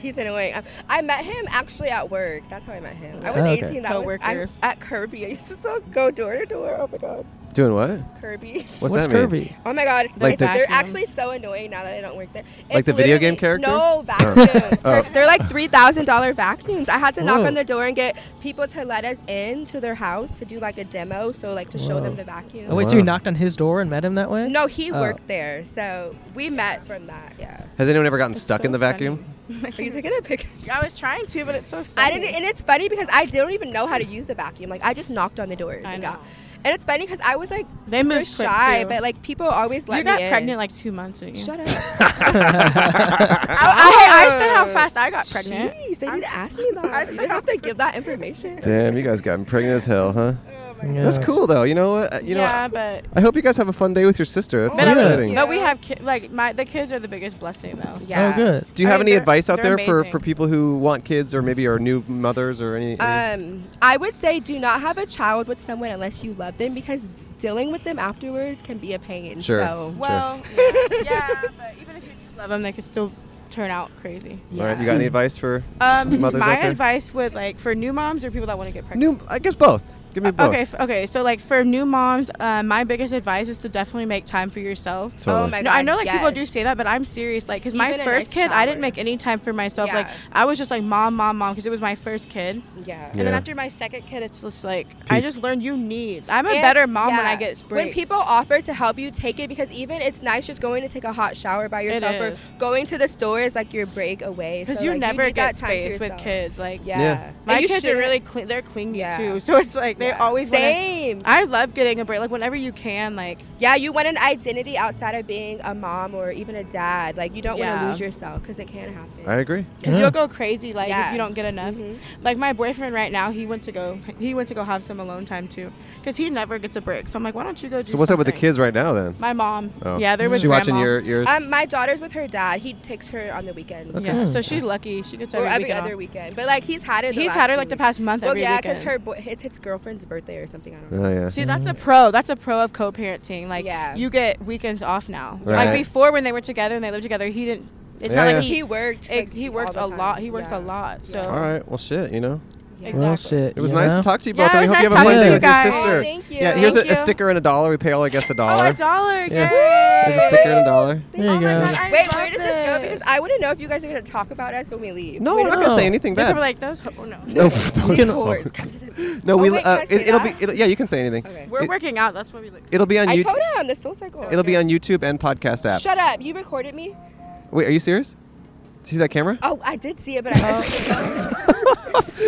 Speaker 6: He's annoying. Um, I met him actually at work. That's how I met him. I was
Speaker 1: Oh, okay.
Speaker 6: 18. That was I,
Speaker 8: Coworkers.
Speaker 6: at Kirby. I used to so go door to door. Oh my god,
Speaker 2: Doing what?
Speaker 6: Kirby.
Speaker 2: What's,
Speaker 1: What's
Speaker 2: that mean?
Speaker 1: Kirby?
Speaker 6: Oh my god, it's,
Speaker 2: Like
Speaker 6: it's-
Speaker 2: the-
Speaker 6: they're
Speaker 8: Vacuums.
Speaker 6: actually so annoying now that I don't work there.
Speaker 2: Like
Speaker 6: It's
Speaker 2: the video game
Speaker 6: literally-
Speaker 2: character?
Speaker 6: No vacuums.
Speaker 2: Oh.
Speaker 6: They're like three thousand dollar vacuums. I had to knock
Speaker 1: Whoa.
Speaker 6: on the door and get people to let us in to their house to do like a demo, so like to show
Speaker 1: Whoa.
Speaker 6: them the vacuum.
Speaker 1: Oh, wait, so you
Speaker 2: Wow.
Speaker 1: knocked on his door and met him that way?
Speaker 6: No, he
Speaker 1: Oh.
Speaker 6: worked there, so we met from that.
Speaker 8: [LAUGHS]
Speaker 6: Yeah.
Speaker 2: Has anyone ever gotten
Speaker 8: It's
Speaker 2: stuck
Speaker 8: so
Speaker 2: in the
Speaker 8: funny.
Speaker 2: vacuum?
Speaker 6: Are you taking a pic?
Speaker 8: I was trying to, but it's so. Sunny.
Speaker 6: I didn't, and it's funny because I don't even know how to use the vacuum. Like I just knocked on the doors
Speaker 8: I
Speaker 6: and
Speaker 8: know.
Speaker 6: got. And it's funny because I was like
Speaker 8: They
Speaker 6: super
Speaker 8: moved quick,
Speaker 6: shy,
Speaker 8: too.
Speaker 6: but like people always let
Speaker 8: You
Speaker 6: me
Speaker 8: got
Speaker 6: in.
Speaker 8: pregnant like two months ago.
Speaker 6: Shut up.
Speaker 8: [LAUGHS]
Speaker 2: [LAUGHS]
Speaker 8: I, I, I said how fast I got pregnant.
Speaker 6: Jeez, they didn't ask me that.
Speaker 8: [LAUGHS] I
Speaker 6: I didn't have to give that information.
Speaker 2: Damn, you guys got pregnant as hell, huh?
Speaker 1: Yeah.
Speaker 2: That's cool though. You know what? Uh, You know.
Speaker 8: yeah, but
Speaker 2: I hope you guys have a fun day with your sister. That's so
Speaker 8: But, I mean,
Speaker 2: exciting.
Speaker 8: but we have ki- like my the kids are the biggest blessing though. So.
Speaker 1: Oh, good.
Speaker 2: Do you
Speaker 8: I
Speaker 2: have
Speaker 8: mean,
Speaker 2: any
Speaker 8: they're-
Speaker 2: advice out
Speaker 8: they're
Speaker 2: there for,
Speaker 8: amazing. Uh,
Speaker 2: for people who want kids or maybe are new mothers or any? any-
Speaker 6: Um, I would say do not have a child with someone unless you love them because dealing with them afterwards can be a pain.
Speaker 2: Sure.
Speaker 6: So
Speaker 8: Well, [LAUGHS] yeah, yeah, but even if you do love them, they could still turn out crazy.
Speaker 2: All right, you got any advice for
Speaker 8: Um,
Speaker 2: mothers
Speaker 8: my
Speaker 2: out there?
Speaker 8: advice would like for new moms or people that want to get pregnant.
Speaker 2: New, I guess both. Give me both.
Speaker 8: Okay, f- okay. So like for new moms, uh, my biggest advice is to definitely make time for yourself.
Speaker 2: Totally.
Speaker 6: Oh my
Speaker 8: No, I
Speaker 6: God,
Speaker 8: know like people
Speaker 6: yes.
Speaker 8: do say that, but I'm serious. Like, cause my
Speaker 6: Even a nice
Speaker 8: first kid, I didn't
Speaker 6: shower.
Speaker 8: make any time for myself. Like,
Speaker 6: Yeah.
Speaker 8: I was just like mom, mom, mom, cause it was my first kid.
Speaker 6: Yeah.
Speaker 8: And then
Speaker 2: Yeah.
Speaker 8: after my second kid, it's just like I
Speaker 2: Peace.
Speaker 8: just learned you need. I'm a
Speaker 6: And-
Speaker 8: better mom when
Speaker 6: yeah.
Speaker 8: I get breaks.
Speaker 6: When people offer to help you take it, because even it's nice just going to take a hot shower by yourself or
Speaker 8: is.
Speaker 6: going to the store is like your break away.
Speaker 8: because
Speaker 6: So,
Speaker 8: you
Speaker 6: like,
Speaker 8: never
Speaker 6: need
Speaker 8: get
Speaker 6: that time to
Speaker 8: space with
Speaker 6: yourself.
Speaker 8: kids. Like
Speaker 6: Yeah.
Speaker 2: Yeah.
Speaker 6: And
Speaker 8: my
Speaker 6: you
Speaker 8: kids are
Speaker 6: shouldn't-
Speaker 8: really clean. They're clingy
Speaker 6: Yeah.
Speaker 8: too, [LAUGHS] so it's like they
Speaker 6: yeah.
Speaker 8: always want.
Speaker 6: same.
Speaker 8: I love getting a break. Like whenever you can, like
Speaker 6: yeah, you want an identity outside of being a mom or even a dad. Like you don't want
Speaker 8: Yeah.
Speaker 6: to lose yourself because it can happen.
Speaker 2: I agree.
Speaker 8: because
Speaker 1: Yeah.
Speaker 8: you'll go crazy like
Speaker 6: Yeah.
Speaker 8: if you don't get enough.
Speaker 6: Mhm.
Speaker 8: Like my boyfriend right now, he went to go he went to go have some alone time too, because he never gets a break. So I'm like, why don't you go? Do
Speaker 2: So what's up with the
Speaker 8: something?"
Speaker 2: kids right now then?
Speaker 8: My mom.
Speaker 2: Oh.
Speaker 8: Yeah, they're with
Speaker 2: She watching
Speaker 8: grandma.
Speaker 2: your your.
Speaker 6: Um, my daughter's with her dad. He takes her on the weekends.
Speaker 8: Yeah, so she's lucky. She gets
Speaker 6: Or
Speaker 8: every,
Speaker 6: every
Speaker 8: weekend
Speaker 6: other
Speaker 8: off.
Speaker 6: weekend. But like he's had it.
Speaker 8: He's
Speaker 6: last
Speaker 8: had her
Speaker 6: few
Speaker 8: like the
Speaker 6: weeks.
Speaker 8: past month.
Speaker 6: Well,
Speaker 8: every
Speaker 6: yeah,
Speaker 8: because
Speaker 6: her boy, it's his girlfriend's birthday or something. I don't know.
Speaker 2: oh yeah.
Speaker 8: See, that's a pro. That's a pro of co-parenting. Like,
Speaker 6: Yeah.
Speaker 8: you get weekends off now.
Speaker 2: Right.
Speaker 8: Like before, when they were together and they lived together, he didn't. It's
Speaker 2: Yeah,
Speaker 8: not
Speaker 2: yeah.
Speaker 8: like
Speaker 6: He
Speaker 8: he
Speaker 6: worked. like,
Speaker 8: ex- he
Speaker 6: all
Speaker 8: works
Speaker 6: the
Speaker 8: a lot.
Speaker 6: time.
Speaker 8: He works
Speaker 6: Yeah.
Speaker 8: a lot. So
Speaker 2: All right. Well, shit. You know.
Speaker 6: Yeah.
Speaker 8: Exactly.
Speaker 1: Well, shit.
Speaker 2: It was
Speaker 1: you
Speaker 2: nice
Speaker 1: know?
Speaker 2: to talk to you
Speaker 8: Yeah,
Speaker 2: both.
Speaker 8: it
Speaker 2: and we
Speaker 8: was
Speaker 2: hope you have
Speaker 8: nice
Speaker 2: a fun
Speaker 1: talking
Speaker 2: day
Speaker 1: to
Speaker 2: with
Speaker 8: you
Speaker 2: your
Speaker 8: guys.
Speaker 2: sister.
Speaker 6: Oh, thank you.
Speaker 2: Yeah, here's
Speaker 8: Thank
Speaker 2: a, a
Speaker 8: you.
Speaker 2: sticker and a dollar. We pay all our guests a dollar.
Speaker 8: oh, a dollar.
Speaker 2: Yeah.
Speaker 8: Yay!
Speaker 2: There's a sticker and a dollar.
Speaker 1: There you
Speaker 8: oh
Speaker 1: go.
Speaker 8: my god! I
Speaker 6: Wait,
Speaker 8: love
Speaker 6: where does this go? Because
Speaker 8: this.
Speaker 6: I want to know if you guys are gonna talk about us when we leave.
Speaker 2: No, we're not gonna
Speaker 1: no.
Speaker 2: say
Speaker 6: [LAUGHS]
Speaker 2: anything
Speaker 8: They're
Speaker 2: bad.
Speaker 8: probably like those. Ho- oh, no.
Speaker 2: no,
Speaker 6: These
Speaker 2: those
Speaker 6: whores.
Speaker 2: whores.
Speaker 6: Come to the-
Speaker 2: no,
Speaker 6: Oh,
Speaker 2: we.
Speaker 6: wait,
Speaker 2: uh,
Speaker 6: can I say
Speaker 2: it, it'll be.
Speaker 6: that?
Speaker 2: It'll, yeah, you can say anything.
Speaker 6: Okay.
Speaker 8: We're
Speaker 2: It,
Speaker 8: working out. That's what we look.
Speaker 2: it'll be on
Speaker 6: I
Speaker 2: YouTube.
Speaker 6: told him the soul cycle.
Speaker 2: It'll be on YouTube and podcast apps.
Speaker 6: Shut up! You recorded me?
Speaker 2: Wait, are you serious? See that camera?
Speaker 6: Oh, I did see it, but I.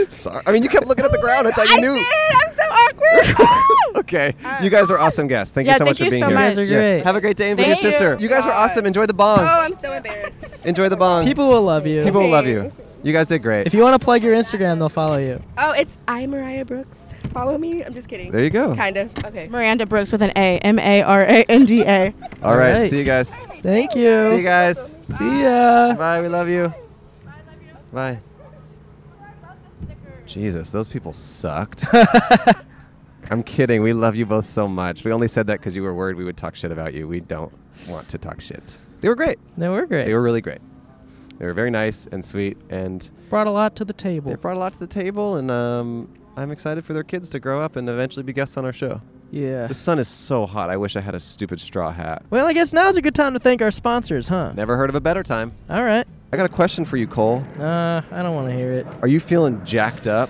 Speaker 2: Sorry. I mean, you kept looking at the ground. I thought
Speaker 6: [LAUGHS] I
Speaker 2: you knew.
Speaker 6: did. I'm so [LAUGHS] awkward. Oh.
Speaker 2: okay. you guys are awesome guests. Thank you
Speaker 8: yeah,
Speaker 2: so
Speaker 8: thank
Speaker 2: much for
Speaker 8: you
Speaker 2: being
Speaker 8: so
Speaker 2: here.
Speaker 8: much.
Speaker 1: You guys are great.
Speaker 2: Have a great day and with your
Speaker 8: Thank you.
Speaker 2: sister. You guys were
Speaker 6: God.
Speaker 2: awesome. Enjoy the
Speaker 6: oh,
Speaker 2: bong.
Speaker 6: I'm so embarrassed.
Speaker 2: Enjoy the bong.
Speaker 1: People will love you.
Speaker 2: People will love you. You guys did great.
Speaker 1: If you want to plug your Instagram, they'll follow you.
Speaker 6: Oh, it's I Mariah Brooks. Follow me. I'm just kidding.
Speaker 2: there you go.
Speaker 6: Kind of. Okay.
Speaker 8: Miranda Brooks with an A. M A R A N D A.
Speaker 2: All right.
Speaker 1: Alright.
Speaker 2: See you guys.
Speaker 1: Thank you.
Speaker 2: See you guys.
Speaker 1: See ya.
Speaker 2: Bye. We love you. Bye. Jesus, those people [LAUGHS] sucked.
Speaker 1: [LAUGHS]
Speaker 2: I'm kidding. We love you both so much. We only said that because you were worried we would talk shit about you. We don't want to talk shit. They were great.
Speaker 1: They were great.
Speaker 2: They were really great. They were very nice and sweet, and
Speaker 1: brought a lot to the table.
Speaker 2: they brought a lot to the table. And um, I'm excited for their kids to grow up and eventually be guests on our show.
Speaker 1: yeah.
Speaker 2: The sun is so hot. I wish I had a stupid straw hat.
Speaker 1: Well, I guess now's a good time to thank our sponsors, huh?
Speaker 2: Never heard of a better time.
Speaker 1: All right.
Speaker 2: I got a question for you, Cole.
Speaker 1: Uh, I don't want to hear it. [SIGHS]
Speaker 2: Are you feeling jacked up?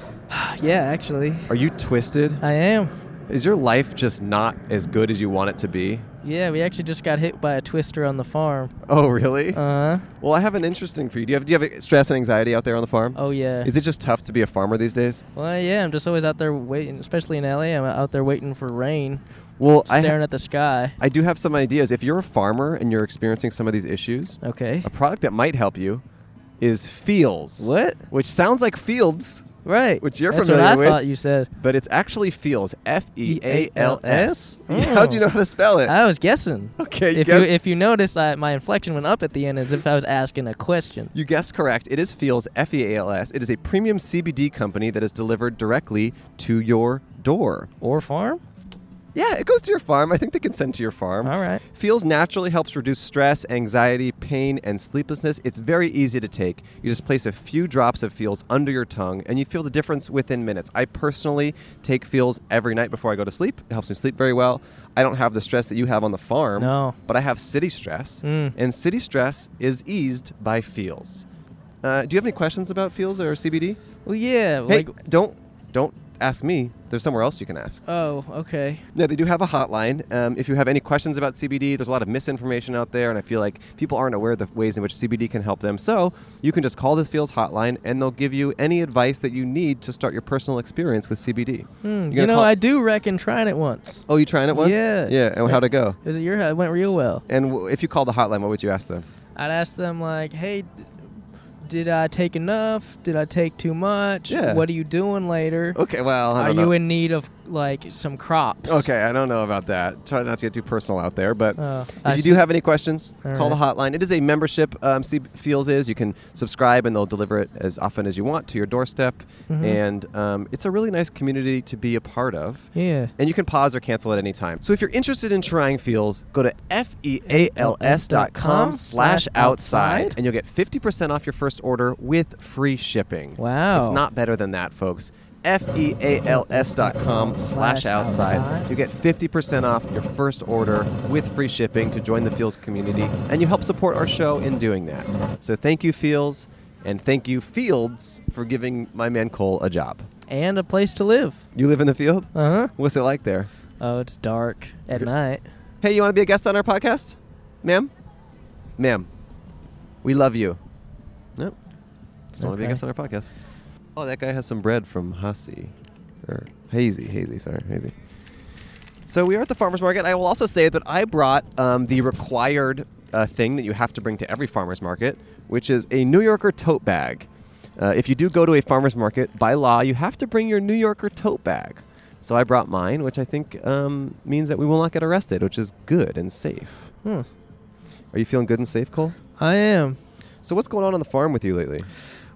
Speaker 1: Yeah, actually,
Speaker 2: Are you twisted?
Speaker 1: I am.
Speaker 2: Is your life just not as good as you want it to be?
Speaker 1: Yeah, we actually just got hit by a twister on the farm.
Speaker 2: Oh, really?
Speaker 1: Uh,
Speaker 2: well, I have an interesting for you. Do you have do you have stress and anxiety out there on the farm?
Speaker 1: oh yeah.
Speaker 2: Is it just tough to be a farmer these days?
Speaker 1: Well, yeah, I'm just always out there waiting, especially in LA. I'm out there waiting for rain,
Speaker 2: Well, I
Speaker 1: staring
Speaker 2: ha-
Speaker 1: at the sky.
Speaker 2: I do have some ideas. If you're a farmer and you're experiencing some of these issues,
Speaker 1: Okay.
Speaker 2: a product that might help you is Feels.
Speaker 1: What?
Speaker 2: Which sounds like Fields,
Speaker 1: Right.
Speaker 2: Which you're
Speaker 1: That's
Speaker 2: familiar
Speaker 1: what I
Speaker 2: with.
Speaker 1: thought you said.
Speaker 2: but it's actually Feels. F E A L S.
Speaker 1: E A L S?
Speaker 2: Yeah, [LAUGHS] How'd you know how to spell it?
Speaker 1: I was guessing.
Speaker 2: Okay, you
Speaker 1: If
Speaker 2: guessed-
Speaker 1: you if you noticed, I, my inflection went up at the end as if I was asking a question.
Speaker 2: You guessed correct. It is Feels, F E A L S. It is a premium CBD company that is delivered directly to your door.
Speaker 1: Or farm?
Speaker 2: Yeah, it goes to your farm. I think they can send to your farm.
Speaker 1: All right.
Speaker 2: Feels naturally helps reduce stress, anxiety, pain, and sleeplessness. It's very easy to take. You just place a few drops of Feels under your tongue and you feel the difference within minutes. I personally take Feels every night before I go to sleep. It helps me sleep very well. I don't have the stress that you have on the farm,
Speaker 1: No.
Speaker 2: but I have city stress,
Speaker 1: Mm.
Speaker 2: and city stress is eased by Feels. Uh, do you have any questions about Feels or CBD?
Speaker 1: Well, yeah.
Speaker 2: Hey,
Speaker 1: Like.
Speaker 2: don't don't ask me. There's somewhere else you can ask.
Speaker 1: Oh, okay.
Speaker 2: Yeah, they do have a hotline. Um, if you have any questions about CBD, there's a lot of misinformation out there, and I feel like people aren't aware of the ways in which CBD can help them. So you can just call the Fields hotline, and they'll give you any advice that you need to start your personal experience with CBD. You're
Speaker 1: Hmm,
Speaker 2: gonna
Speaker 1: you know,
Speaker 2: call-
Speaker 1: I do reckon trying it once.
Speaker 2: Oh, you trying it once?
Speaker 1: Yeah.
Speaker 2: Yeah, and how'd it go?
Speaker 1: Is it your it went real well.
Speaker 2: And w- if you call the hotline, what would you
Speaker 1: [LAUGHS]
Speaker 2: ask them?
Speaker 1: I'd ask them like, "Hey, d- did I take enough? Did I take too much?
Speaker 2: Yeah.
Speaker 1: What are you doing later?
Speaker 2: Okay, well, I
Speaker 1: Are
Speaker 2: don't
Speaker 1: you
Speaker 2: know.
Speaker 1: in need of like some crops?"
Speaker 2: Okay, I don't know about that. Try not to get too personal out there, but
Speaker 1: Oh,
Speaker 2: if
Speaker 1: I
Speaker 2: you
Speaker 1: see.
Speaker 2: do have any questions,
Speaker 1: All
Speaker 2: call the hotline. It is a membership. Um, C- Feels is you can subscribe and they'll deliver it as often as you want to your doorstep,
Speaker 1: Mm-hmm.
Speaker 2: and um, it's a really nice community to be a part of.
Speaker 1: Yeah.
Speaker 2: And you can pause or cancel at any time. So if you're interested in trying Feels, go to E feals dot com slash outside, and you'll get 50% off your first order with free shipping.
Speaker 1: Wow.
Speaker 2: It's not better than that, folks. E F-E-A-L-S dot com slash
Speaker 1: Slash
Speaker 2: outside.
Speaker 1: outside.
Speaker 2: You get 50% off your first order with free shipping to join the Feels community, and you help support our show in doing that. So thank you, Feels, and thank you, Fields, for giving my man Cole a job.
Speaker 1: And a place to live.
Speaker 2: You live in the field?
Speaker 1: Uh huh.
Speaker 2: What's it like there?
Speaker 1: Oh, it's dark at night.
Speaker 2: Hey, you want to be a guest on our podcast? Ma'am? Ma'am, we love you. Nope. Just want to be a
Speaker 1: Okay.
Speaker 2: guest on our podcast. Oh, that guy has some bread from Hussey. Or Hazy, Hazy, sorry, Hazy. So we are at the farmer's market. I will also say that I brought um, the required uh, thing that you have to bring to every farmer's market, which is a New Yorker tote bag. Uh, if you do go to a farmer's market, by law, you have to bring your New Yorker tote bag. So I brought mine, which I think um, means that we will not get arrested, which is good and safe.
Speaker 1: Hmm.
Speaker 2: Are you feeling good and safe, Cole?
Speaker 1: I am.
Speaker 2: So what's going on on the farm with you lately?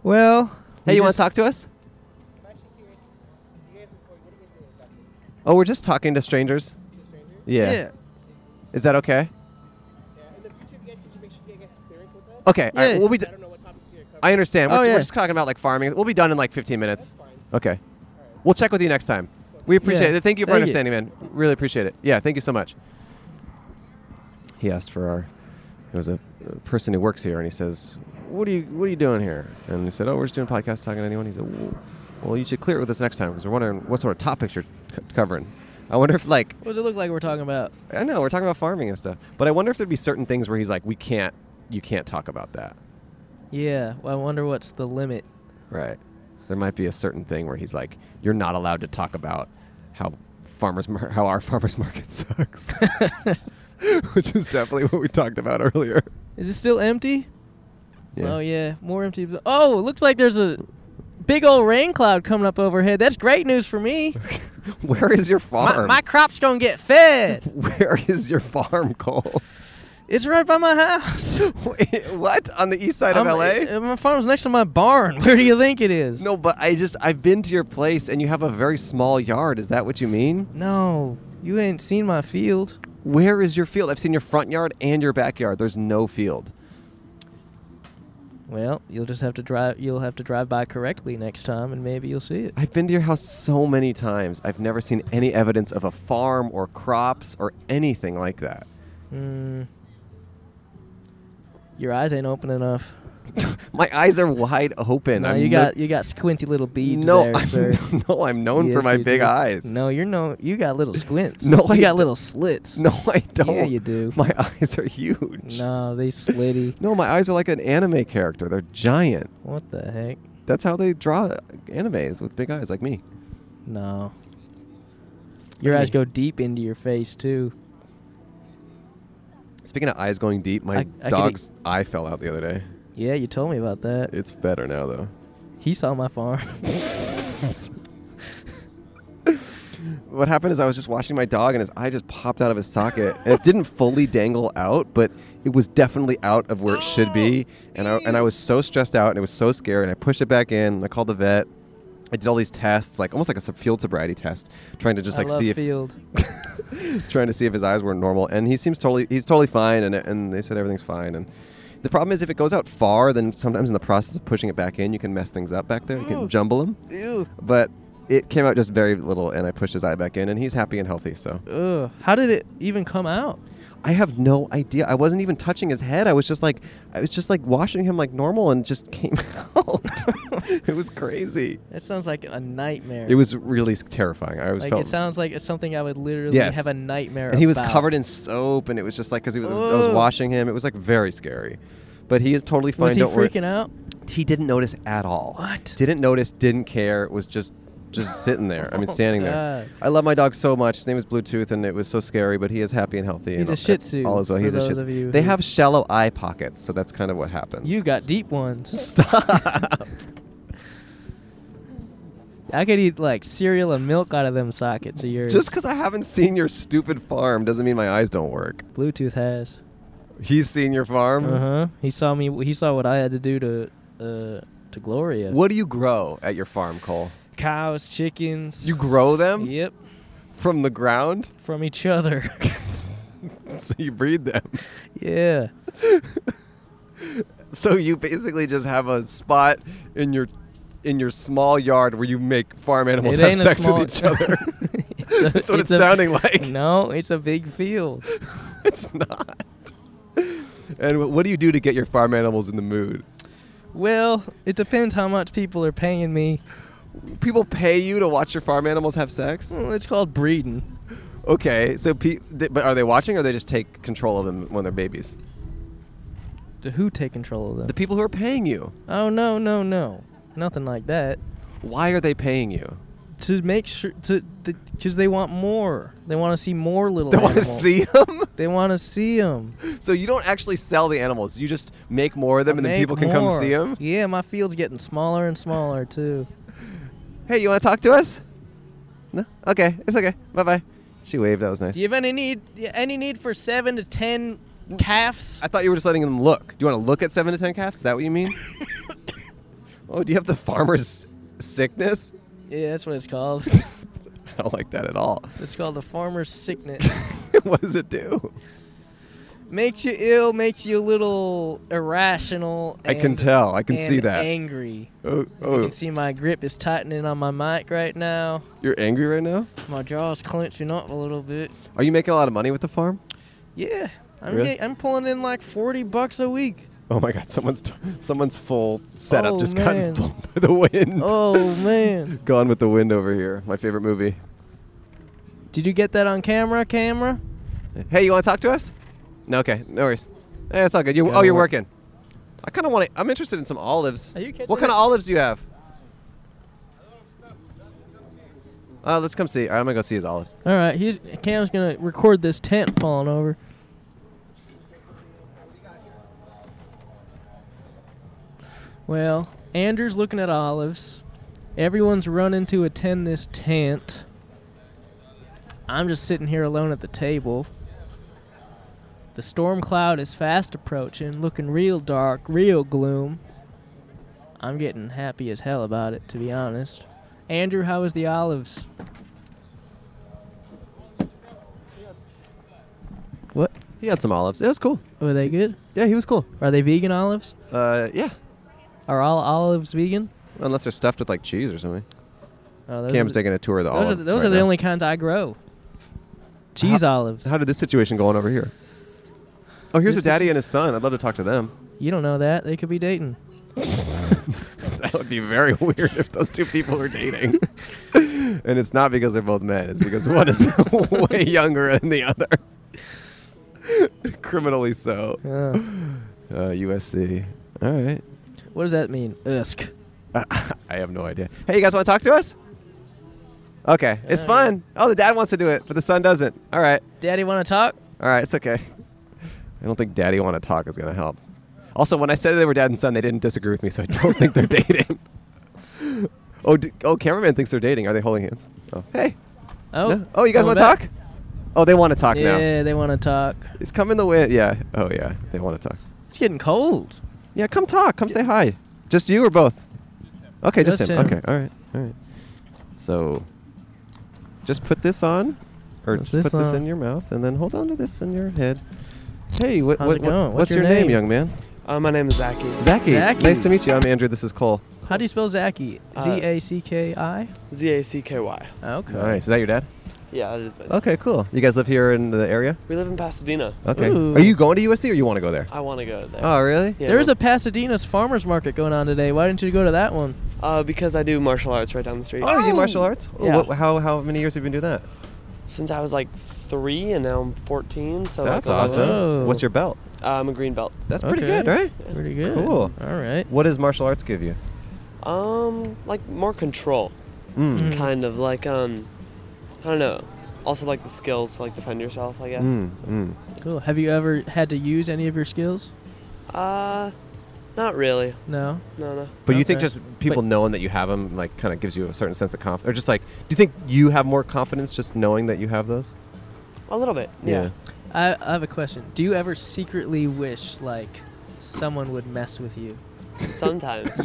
Speaker 1: Well.
Speaker 2: Hey,
Speaker 1: we
Speaker 2: you want
Speaker 1: just-
Speaker 2: to talk to us? Oh, we're just talking to strangers. Yeah.
Speaker 1: Yeah.
Speaker 2: Is that okay? Okay. All right.
Speaker 1: Yeah.
Speaker 2: We'll be. D- I understand. We're,
Speaker 1: Oh,
Speaker 2: ju- we're
Speaker 1: yeah.
Speaker 2: just talking about like farming. We'll be done in like 15 minutes. Okay. We'll check with you next time. We appreciate
Speaker 1: Yeah.
Speaker 2: it. Thank you for
Speaker 1: Thank you.
Speaker 2: understanding, man. Really appreciate it. Yeah. Thank you so much. He asked for our. There was a a person who works here, and he says, "What are you What are you doing here?" And he said, "Oh, we're just doing a podcast, talking to anyone." He said, "Well, well, you should clear it with us next time because we're wondering what sort of topics you're c- covering." I wonder if like
Speaker 1: What does it look like we're talking about?
Speaker 2: I know we're talking about farming and stuff, but I wonder if there'd be certain things where he's like, "We can't, you can't talk about that."
Speaker 1: Yeah. Well, I wonder what's the limit.
Speaker 2: Right. There might be a certain thing where he's like, "You're not allowed to talk about how farmers, mar- how our farmers [LAUGHS] market sucks," which is definitely what we talked about earlier.
Speaker 1: Is it still empty?
Speaker 2: Yeah.
Speaker 1: Oh yeah, more empty. Oh, it looks like there's a big old rain cloud coming up overhead. That's great news for me.
Speaker 2: [LAUGHS] Where is your
Speaker 1: my,
Speaker 2: [LAUGHS] farm? [LAUGHS]
Speaker 1: my crop's gonna get fed.
Speaker 2: Where is your farm, Cole? [LAUGHS]
Speaker 1: It's right by my house.
Speaker 2: Wait, what? On the east side of
Speaker 1: I'm-
Speaker 2: LA?
Speaker 1: uh, My farm's next to my barn. [LAUGHS] Where do you think it is?
Speaker 2: no, but I just I've been to your place and you have a very small yard. Is that what you mean?
Speaker 1: No, you ain't seen my field.
Speaker 2: Where is your field? I've seen your front yard and your backyard. There's no field.
Speaker 1: Well, you'll just have to drive. You'll have to drive by correctly next time, and maybe you'll see it.
Speaker 2: I've been to your house so many times. I've never seen any evidence of a farm or crops or anything like that. [LAUGHS]
Speaker 1: Mm. Your eyes ain't open enough.
Speaker 2: My eyes are wide open.
Speaker 1: no,
Speaker 2: I'm
Speaker 1: you
Speaker 2: no-
Speaker 1: got you got squinty little beads
Speaker 2: no,
Speaker 1: there,
Speaker 2: I'm,
Speaker 1: sir.
Speaker 2: no, I'm [LAUGHS] known for
Speaker 1: Yes,
Speaker 2: my
Speaker 1: you
Speaker 2: big
Speaker 1: do.
Speaker 2: eyes.
Speaker 1: No, you're no. You got
Speaker 2: [LAUGHS]
Speaker 1: little squints.
Speaker 2: No,
Speaker 1: you
Speaker 2: I
Speaker 1: got
Speaker 2: d-
Speaker 1: little slits.
Speaker 2: [LAUGHS] No, I don't.
Speaker 1: you do.
Speaker 2: [LAUGHS] My eyes are huge.
Speaker 1: no, they slitty.
Speaker 2: [LAUGHS] No, my eyes are like an anime character. They're giant.
Speaker 1: What the heck?
Speaker 2: That's how they draw animes with big eyes, like me.
Speaker 1: No. Your eyes go
Speaker 2: Okay.
Speaker 1: deep into your face too.
Speaker 2: Speaking of eyes going deep,
Speaker 1: I-
Speaker 2: my
Speaker 1: I could eat-
Speaker 2: dog's eye fell out the other day.
Speaker 1: Yeah, you told me about that.
Speaker 2: It's better now, though.
Speaker 1: He saw my farm.
Speaker 2: What happened is I was just watching my dog, and his eye just popped out of his socket, and it didn't fully dangle out, but it was definitely out of where it should be. And I and I was so stressed out, and it was so scary, and I pushed it back in. And I called the vet. I did all these tests, like almost like a sub- field sobriety test, trying to [LAUGHS] just
Speaker 1: I
Speaker 2: like
Speaker 1: love
Speaker 2: see if
Speaker 1: field.
Speaker 2: [LAUGHS] trying to see if his eyes were normal, and he seems totally he's totally fine, and and they said everything's fine. And the problem is if it goes out far, then sometimes in the process of pushing it back in, you can mess things up back there. You
Speaker 1: Oh.
Speaker 2: can jumble them.
Speaker 1: Ew.
Speaker 2: But it came out just very little, and I pushed his eye back in, and he's happy and healthy. So
Speaker 1: Ugh. How did it even come out?
Speaker 2: I have no idea. I wasn't even touching his head. I was just like I was just like washing him like normal, and it just came [LAUGHS] out. it was crazy.
Speaker 1: That sounds like a nightmare.
Speaker 2: It was really s- terrifying. I was
Speaker 1: like
Speaker 2: felt.
Speaker 1: it sounds like it's something I would literally
Speaker 2: Yes.
Speaker 1: have a nightmare.
Speaker 2: and he was
Speaker 1: about.
Speaker 2: covered in soap, and it was just like because he was I was
Speaker 1: Ugh.
Speaker 2: washing him. It was like very scary. But he is totally fine.
Speaker 1: Was he
Speaker 2: Don't worry.
Speaker 1: freaking out?
Speaker 2: He didn't notice at all.
Speaker 1: What?
Speaker 2: Didn't notice. Didn't care. Was just just sitting there. I mean,
Speaker 1: [LAUGHS] Oh,
Speaker 2: standing there.
Speaker 1: God.
Speaker 2: I love my dog so much. His name is Bluetooth, and it was so scary. But he is happy and healthy.
Speaker 1: He's
Speaker 2: and
Speaker 1: a Shih Tzu,
Speaker 2: All is well.
Speaker 1: for
Speaker 2: He's a
Speaker 1: those
Speaker 2: Shih Tzu.
Speaker 1: of you
Speaker 2: they
Speaker 1: who-
Speaker 2: have shallow eye pockets, so that's kind of what happens.
Speaker 1: You got deep ones.
Speaker 2: [LAUGHS] stop.
Speaker 1: I could eat like cereal and milk out of them sockets of yours.
Speaker 2: just because I haven't seen your stupid farm doesn't mean my eyes don't work.
Speaker 1: Bluetooth has.
Speaker 2: He's seen your farm.
Speaker 1: Uh huh. He saw me. He saw what I had to do to uh to Gloria.
Speaker 2: What do you grow at your farm, Cole?
Speaker 1: Cows, chickens.
Speaker 2: You grow them
Speaker 1: Yep.
Speaker 2: from the ground,
Speaker 1: From each other.
Speaker 2: [LAUGHS] so you breed them.
Speaker 1: yeah.
Speaker 2: So you basically just have a spot in your in your small yard where you make farm animals
Speaker 1: It
Speaker 2: have
Speaker 1: ain't a
Speaker 2: sex
Speaker 1: small-
Speaker 2: with each other.
Speaker 1: [LAUGHS] It's a-
Speaker 2: That's what it's,
Speaker 1: a-
Speaker 2: sounding like.
Speaker 1: No, it's a big field.
Speaker 2: [LAUGHS] It's not. And wh- what do you do to get your farm animals in the mood?
Speaker 1: Well, it depends how much people are paying me.
Speaker 2: People pay you to watch your farm animals have sex.
Speaker 1: Well, It's called breeding.
Speaker 2: Okay, so pe- th- but are they watching or they just take control of them when they're babies?
Speaker 1: To who take control of them?
Speaker 2: The people who are paying you.
Speaker 1: oh no, no, no, nothing like that.
Speaker 2: Why are they paying you?
Speaker 1: To make sure to because they want more. They want to see more little.
Speaker 2: They want to
Speaker 1: animals.
Speaker 2: see them.
Speaker 1: They want to see them.
Speaker 2: [LAUGHS] So you don't actually sell the animals. You just make more of them, and then people can come see them.
Speaker 1: Yeah, my field's getting smaller and smaller too.
Speaker 2: Hey, you want to talk to us? No. Okay, it's okay. Bye bye. She waved. That was nice.
Speaker 1: Do you have any need any need for seven to ten calves?
Speaker 2: I thought you were just letting them look. Do you want to look at seven to ten calves? Is that what you mean? [LAUGHS] oh, do you have the farmer's sickness? [LAUGHS]
Speaker 1: Yeah, that's what it's called.
Speaker 2: I don't like that at all. [LAUGHS]
Speaker 1: it's called the farmer's sickness.
Speaker 2: what does it do?
Speaker 1: makes you ill, makes you a little irrational.
Speaker 2: I can
Speaker 1: and-
Speaker 2: tell. I can see
Speaker 1: and
Speaker 2: that.
Speaker 1: Angry.
Speaker 2: oh,
Speaker 1: If You
Speaker 2: oh
Speaker 1: can see my grip is tightening on my mic right now.
Speaker 2: you're angry right now?
Speaker 1: My jaw's clenching up a little bit.
Speaker 2: Are you making a lot of money with the farm?
Speaker 1: Yeah, I'm
Speaker 2: Really?
Speaker 1: get- I'm pulling in like 40 bucks a
Speaker 2: [LAUGHS]
Speaker 1: week.
Speaker 2: Oh my God! Someone's t- someone's full setup
Speaker 1: Oh,
Speaker 2: just
Speaker 1: man.
Speaker 2: got [LAUGHS] blown by the wind.
Speaker 1: Oh man!
Speaker 2: Gone with the Wind over here. My favorite movie.
Speaker 1: Did you get that on camera? Camera?
Speaker 2: Hey, you want to talk to us? No, okay, no worries. Eh, it's all good. You, oh,
Speaker 1: don't
Speaker 2: you're
Speaker 1: work.
Speaker 2: working. I kind of want to. I'm interested in some olives.
Speaker 1: Are you catching
Speaker 2: what kind
Speaker 1: it?
Speaker 2: of olives do you have? Uh, let's come see. All right, I'm gonna go see his olives.
Speaker 1: All right, he's Cam's gonna record this tent falling over. Well, Andrew's looking at olives. Everyone's running to attend this tent. I'm just sitting here alone at the table. The storm cloud is fast approaching, looking real dark, real gloom. I'm getting happy as hell about it, to be honest. Andrew, how is the olives? What?
Speaker 2: He had some olives. It was cool.
Speaker 1: Were they good?
Speaker 2: Yeah, he was cool.
Speaker 1: Are they vegan olives?
Speaker 2: Uh, yeah.
Speaker 1: Are all olives vegan?
Speaker 2: Unless they're stuffed with like cheese or something.
Speaker 1: Oh, those
Speaker 2: Cam's
Speaker 1: are,
Speaker 2: taking a tour of the
Speaker 1: those
Speaker 2: olive.
Speaker 1: Are, the- those
Speaker 2: right
Speaker 1: are the
Speaker 2: now.
Speaker 1: only kinds I grow. Cheese olives.
Speaker 2: How did this situation go on over here? Oh, here's
Speaker 1: This
Speaker 2: a daddy and his son. I'd love to talk to them.
Speaker 1: You don't know that. They could be dating.
Speaker 2: [LAUGHS] That would be very [LAUGHS] weird if those two people were dating. [LAUGHS] and it's not because they're both men, it's because one is [LAUGHS] way younger than the other. [LAUGHS] Criminally so.
Speaker 1: Uh,
Speaker 2: Uh, USC. All right.
Speaker 1: [LAUGHS]
Speaker 2: [LAUGHS]
Speaker 1: what does that mean? Usk.
Speaker 2: I have no idea. Hey, you guys want to talk to us? Okay. It's
Speaker 1: Uh,
Speaker 2: fun. Oh, the dad wants to do it, but the son doesn't. All right.
Speaker 1: Daddy, want to talk?
Speaker 2: All right. It's okay. I don't think daddy want to talk is going to help. Also, when I said they were dad and son, they didn't disagree with me, so I don't think they're [LAUGHS] dating. Oh, d- oh, cameraman thinks they're dating. Are they holding hands? Oh, hey.
Speaker 1: Oh,
Speaker 2: No? Oh, you guys
Speaker 1: coming
Speaker 2: want to
Speaker 1: back?
Speaker 2: talk? Oh, they want to talk now.
Speaker 1: Yeah, they want to talk.
Speaker 2: It's coming the wind. Yeah. Oh, yeah. They want to talk.
Speaker 1: It's getting cold.
Speaker 2: Yeah, come talk. Come say hi. Just you or both? Okay, just,
Speaker 1: Just
Speaker 2: him.
Speaker 1: him.
Speaker 2: Okay, all right, all right. So, just put this on, or
Speaker 1: What's
Speaker 2: just
Speaker 1: this
Speaker 2: put this in
Speaker 1: on?
Speaker 2: your mouth, and then hold on to this in your head. Hey, what,
Speaker 1: How's
Speaker 2: what,
Speaker 1: it
Speaker 2: what-
Speaker 1: going?
Speaker 2: what's, your name? young man?
Speaker 7: Uh, my name is Zaki.
Speaker 2: Zachy.
Speaker 1: Zachy.
Speaker 2: Nice to meet you. I'm Andrew. This is Cole.
Speaker 1: How do you spell Zacky?
Speaker 7: Uh,
Speaker 1: Z A C K I?
Speaker 7: Z A C K Y.
Speaker 1: Okay.
Speaker 2: Nice. Is that your dad?
Speaker 7: Yeah, that is my name.
Speaker 2: Okay, Oh. cool. You guys live here in the area?
Speaker 7: We live in Pasadena.
Speaker 2: Okay.
Speaker 1: Ooh.
Speaker 2: Are you going to USC or you want to go there?
Speaker 7: I want to go there.
Speaker 2: Oh, really?
Speaker 7: Yeah,
Speaker 1: There is
Speaker 7: no-
Speaker 1: a Pasadena's farmers market going on today. Why didn't you go to that one?
Speaker 7: Uh, because I do martial arts right down the street.
Speaker 2: Oh, you do martial arts? Oh,
Speaker 7: Yeah.
Speaker 2: wha- how, how many years have you been doing that?
Speaker 7: Since I was like three, and now I'm 14. So
Speaker 2: That's
Speaker 7: like,
Speaker 2: awesome.
Speaker 1: Oh.
Speaker 2: What's your belt?
Speaker 7: Uh, I'm a green belt.
Speaker 2: That's pretty
Speaker 1: Okay.
Speaker 2: good, right?
Speaker 1: Pretty good.
Speaker 2: Cool.
Speaker 1: All right.
Speaker 2: What does martial arts give you?
Speaker 7: Um, like more control,
Speaker 2: Mm.
Speaker 1: Mm.
Speaker 7: kind of like um, I don't know. Also like the skills to like defend yourself, I guess.
Speaker 2: Mm,
Speaker 7: So-
Speaker 2: mm.
Speaker 1: Cool. Have you ever had to use any of your skills?
Speaker 7: Uh, not really.
Speaker 1: No.
Speaker 7: No, no.
Speaker 2: But you think
Speaker 1: Okay.
Speaker 2: just people
Speaker 1: But-
Speaker 2: knowing that you have them, like, kind of gives you a certain sense of confidence, or just like, do you think you have more confidence just knowing that you have those?
Speaker 7: A little bit. Yeah.
Speaker 1: I, I have a question. Do you ever secretly wish like someone would mess with you?
Speaker 7: Sometimes.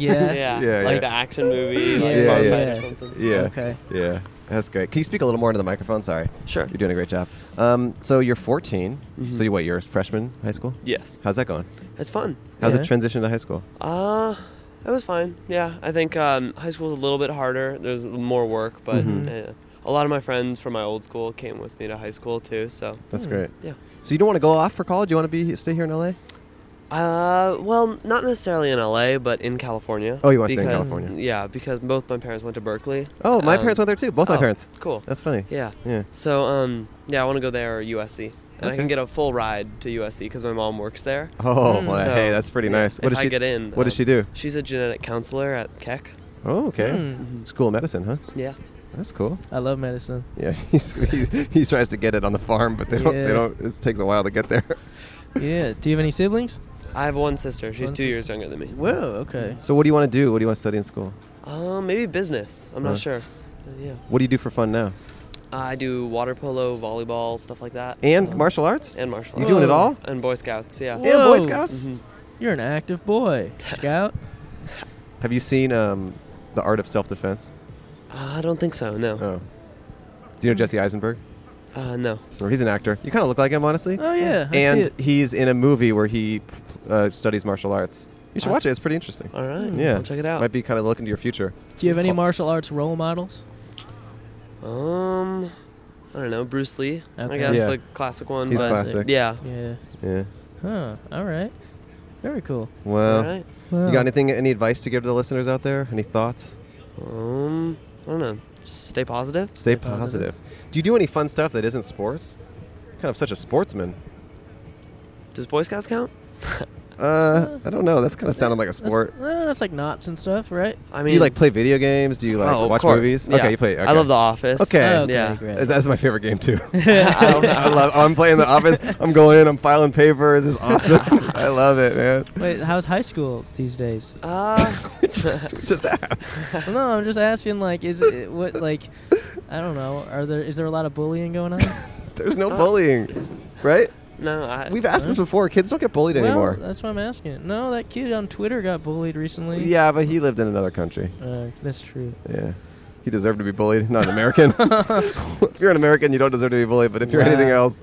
Speaker 1: [LAUGHS] Yeah.
Speaker 7: Yeah.
Speaker 2: Yeah,
Speaker 7: like
Speaker 2: yeah.
Speaker 7: the action movie, like
Speaker 1: Yeah,
Speaker 7: Bar
Speaker 2: yeah.
Speaker 7: Fight
Speaker 1: Yeah.
Speaker 7: or something.
Speaker 2: yeah,
Speaker 1: Okay.
Speaker 2: yeah. That's great. Can you speak a little more into the microphone? Sorry,
Speaker 7: Sure.
Speaker 2: you're doing a great job. Um, so you're 14. So
Speaker 7: Mhm.
Speaker 2: you what? You're a freshman in high school.
Speaker 7: Yes.
Speaker 2: How's that going?
Speaker 7: It's fun.
Speaker 2: How's
Speaker 1: Yeah.
Speaker 2: the transition to high school?
Speaker 7: Uh, it was fine. Yeah, I think um, high school's a little bit harder. There's more work, but
Speaker 2: Mhm.
Speaker 7: uh, a lot of my friends from my old school came with me to high school too. So,
Speaker 2: That's great.
Speaker 7: yeah.
Speaker 2: So you don't want to go off for college? You want to be stay here in LA?
Speaker 7: Uh, well, not necessarily in LA, but in California.
Speaker 2: Oh, you wanna stay in
Speaker 7: because-
Speaker 2: California.
Speaker 7: Yeah, because both my parents went to Berkeley.
Speaker 2: Oh, my
Speaker 7: Um,
Speaker 2: parents went there too. Both my
Speaker 7: oh,
Speaker 2: parents.
Speaker 7: Cool.
Speaker 2: That's funny.
Speaker 7: Yeah.
Speaker 2: Yeah.
Speaker 7: So, um, yeah, I want to go there or USC, and I
Speaker 2: Okay.
Speaker 7: can get a full ride to USC because my mom works there.
Speaker 2: Oh,
Speaker 1: Mm.
Speaker 2: well,
Speaker 7: So,
Speaker 2: hey, that's pretty
Speaker 7: yeah,
Speaker 2: nice. What
Speaker 7: if
Speaker 2: does
Speaker 7: I
Speaker 2: she
Speaker 7: get in,
Speaker 2: What does
Speaker 7: um,
Speaker 2: she do?
Speaker 7: She's a genetic counselor at Keck.
Speaker 2: Oh, okay.
Speaker 1: Hmm.
Speaker 2: School of medicine, huh?
Speaker 7: Yeah.
Speaker 2: That's cool.
Speaker 1: I love medicine.
Speaker 2: Yeah, [LAUGHS] he's, he, he tries to get it on the farm, but they don't.
Speaker 1: Yeah.
Speaker 2: They don't. It takes a while to get there.
Speaker 1: [LAUGHS] Yeah. Do you have any siblings?
Speaker 7: I have one sister. She's
Speaker 1: One sister.
Speaker 7: two years younger than me.
Speaker 1: Whoa. Okay.
Speaker 2: So, what do you want to do? What do you want to study in school?
Speaker 7: Um, maybe business. I'm
Speaker 2: Huh.
Speaker 7: not sure. Uh, yeah.
Speaker 2: What do you do for fun now?
Speaker 7: I do water polo, volleyball, stuff like that.
Speaker 2: And
Speaker 7: Um,
Speaker 2: martial arts?
Speaker 7: And martial
Speaker 2: you
Speaker 7: arts.
Speaker 2: doing it
Speaker 1: Whoa.
Speaker 2: all?
Speaker 7: And Boy Scouts, yeah.
Speaker 2: And Boy
Speaker 1: Whoa. mm-hmm.
Speaker 2: Scouts?
Speaker 7: Mhm.
Speaker 1: You're an active boy, [LAUGHS] Scout.
Speaker 2: Have you seen um, the Art of Self Defense?
Speaker 7: Uh, I don't think so, no.
Speaker 2: Oh. Do you know Jesse Eisenberg? Oh.
Speaker 7: Uh, no.
Speaker 2: Or he's an actor. You kind of look like him, honestly.
Speaker 1: Oh yeah. I see
Speaker 2: and
Speaker 1: it.
Speaker 2: he's in a movie where he uh, studies martial arts. You should
Speaker 7: That's-
Speaker 2: watch it. It's pretty interesting.
Speaker 7: All right.
Speaker 2: yeah,
Speaker 7: I'll check it out.
Speaker 2: Might be kind of looking to your future.
Speaker 1: Do you have any
Speaker 2: Oh.
Speaker 1: martial arts role models?
Speaker 7: Um, I don't know. Bruce Lee,
Speaker 1: Okay.
Speaker 7: I guess,
Speaker 2: Yeah.
Speaker 7: the classic one.
Speaker 2: He's
Speaker 7: but
Speaker 2: classic.
Speaker 7: Yeah.
Speaker 1: Yeah.
Speaker 2: Yeah.
Speaker 1: Huh. All right. Very cool.
Speaker 2: Well,
Speaker 7: All right.
Speaker 2: you got anything? Any advice to give to the listeners out there? Any thoughts?
Speaker 7: Um, I don't know. Stay positive.
Speaker 2: Stay
Speaker 1: Stay positive.
Speaker 2: positive. Do you do any fun stuff that isn't sports? Kind of such a sportsman.
Speaker 7: Does Boy Scouts count?
Speaker 2: Uh, I don't know. That's kind of sounded like a
Speaker 1: That's,
Speaker 2: sport.
Speaker 1: uh, that's like knots and stuff, right?
Speaker 7: I
Speaker 2: do you like play video games? Do you like
Speaker 7: oh, of
Speaker 2: watch
Speaker 7: course.
Speaker 2: movies?
Speaker 7: Yeah.
Speaker 2: Okay, you play.
Speaker 7: I love The Office.
Speaker 2: Okay. Okay,
Speaker 7: yeah.
Speaker 1: Oh, great.
Speaker 2: That's, that's my favorite game
Speaker 7: [LAUGHS]
Speaker 2: too. [LAUGHS] I, love- I love. I'm playing the office. I'm going in. I'm filing papers. It's
Speaker 7: [LAUGHS]
Speaker 2: awesome. I love it, man.
Speaker 1: Wait,
Speaker 2: [LAUGHS]
Speaker 1: how's high school these days?
Speaker 7: Uh, [LAUGHS]
Speaker 2: Just abs. [LAUGHS]
Speaker 1: Well, no, I'm just asking. Like, is it what? Like, [LAUGHS] I don't know. Are there is there a lot of bullying going on?
Speaker 2: There's no bullying, right?
Speaker 7: uh, No, I,
Speaker 2: We've asked this before. Kids don't get bullied
Speaker 1: Well,
Speaker 2: anymore.
Speaker 1: that's what I'm asking. No, that kid on Twitter got bullied recently.
Speaker 2: Yeah, but he lived in another country.
Speaker 1: Uh, that's true.
Speaker 2: Yeah. He deserved to be bullied, not an [LAUGHS] American. if you're an American, you don't deserve to be bullied, but if you're anything
Speaker 1: Wow.
Speaker 2: else,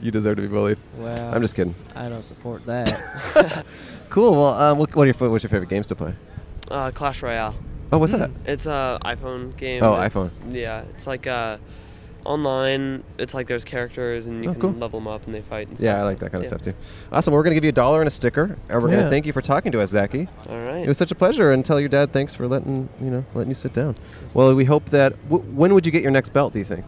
Speaker 2: you deserve to be bullied.
Speaker 1: Wow.
Speaker 2: I'm just kidding.
Speaker 1: I don't support that.
Speaker 2: Cool. Well, um, what, what are your, fa- what's your favorite games to play?
Speaker 7: uh, Clash Royale.
Speaker 2: Oh, what's that?
Speaker 7: It's a iPhone game.
Speaker 2: Oh,
Speaker 7: It's-
Speaker 2: iPhone.
Speaker 7: Yeah, it's like uh, online. It's like there's characters and you
Speaker 2: Oh,
Speaker 7: can
Speaker 2: cool.
Speaker 7: level them up and they fight and stuff.
Speaker 2: Yeah, I
Speaker 7: so-
Speaker 2: like that kind of
Speaker 7: yeah.
Speaker 2: stuff too. Awesome. Well, we're going to give you a dollar and a sticker, and we're going
Speaker 1: Yeah.
Speaker 2: to thank you for talking to us, Zachy.
Speaker 7: All
Speaker 2: It
Speaker 7: right.
Speaker 2: was such a pleasure, and tell your dad thanks for letting you know letting you sit down. Well, we hope that. W- when would you get your next belt? Do you think?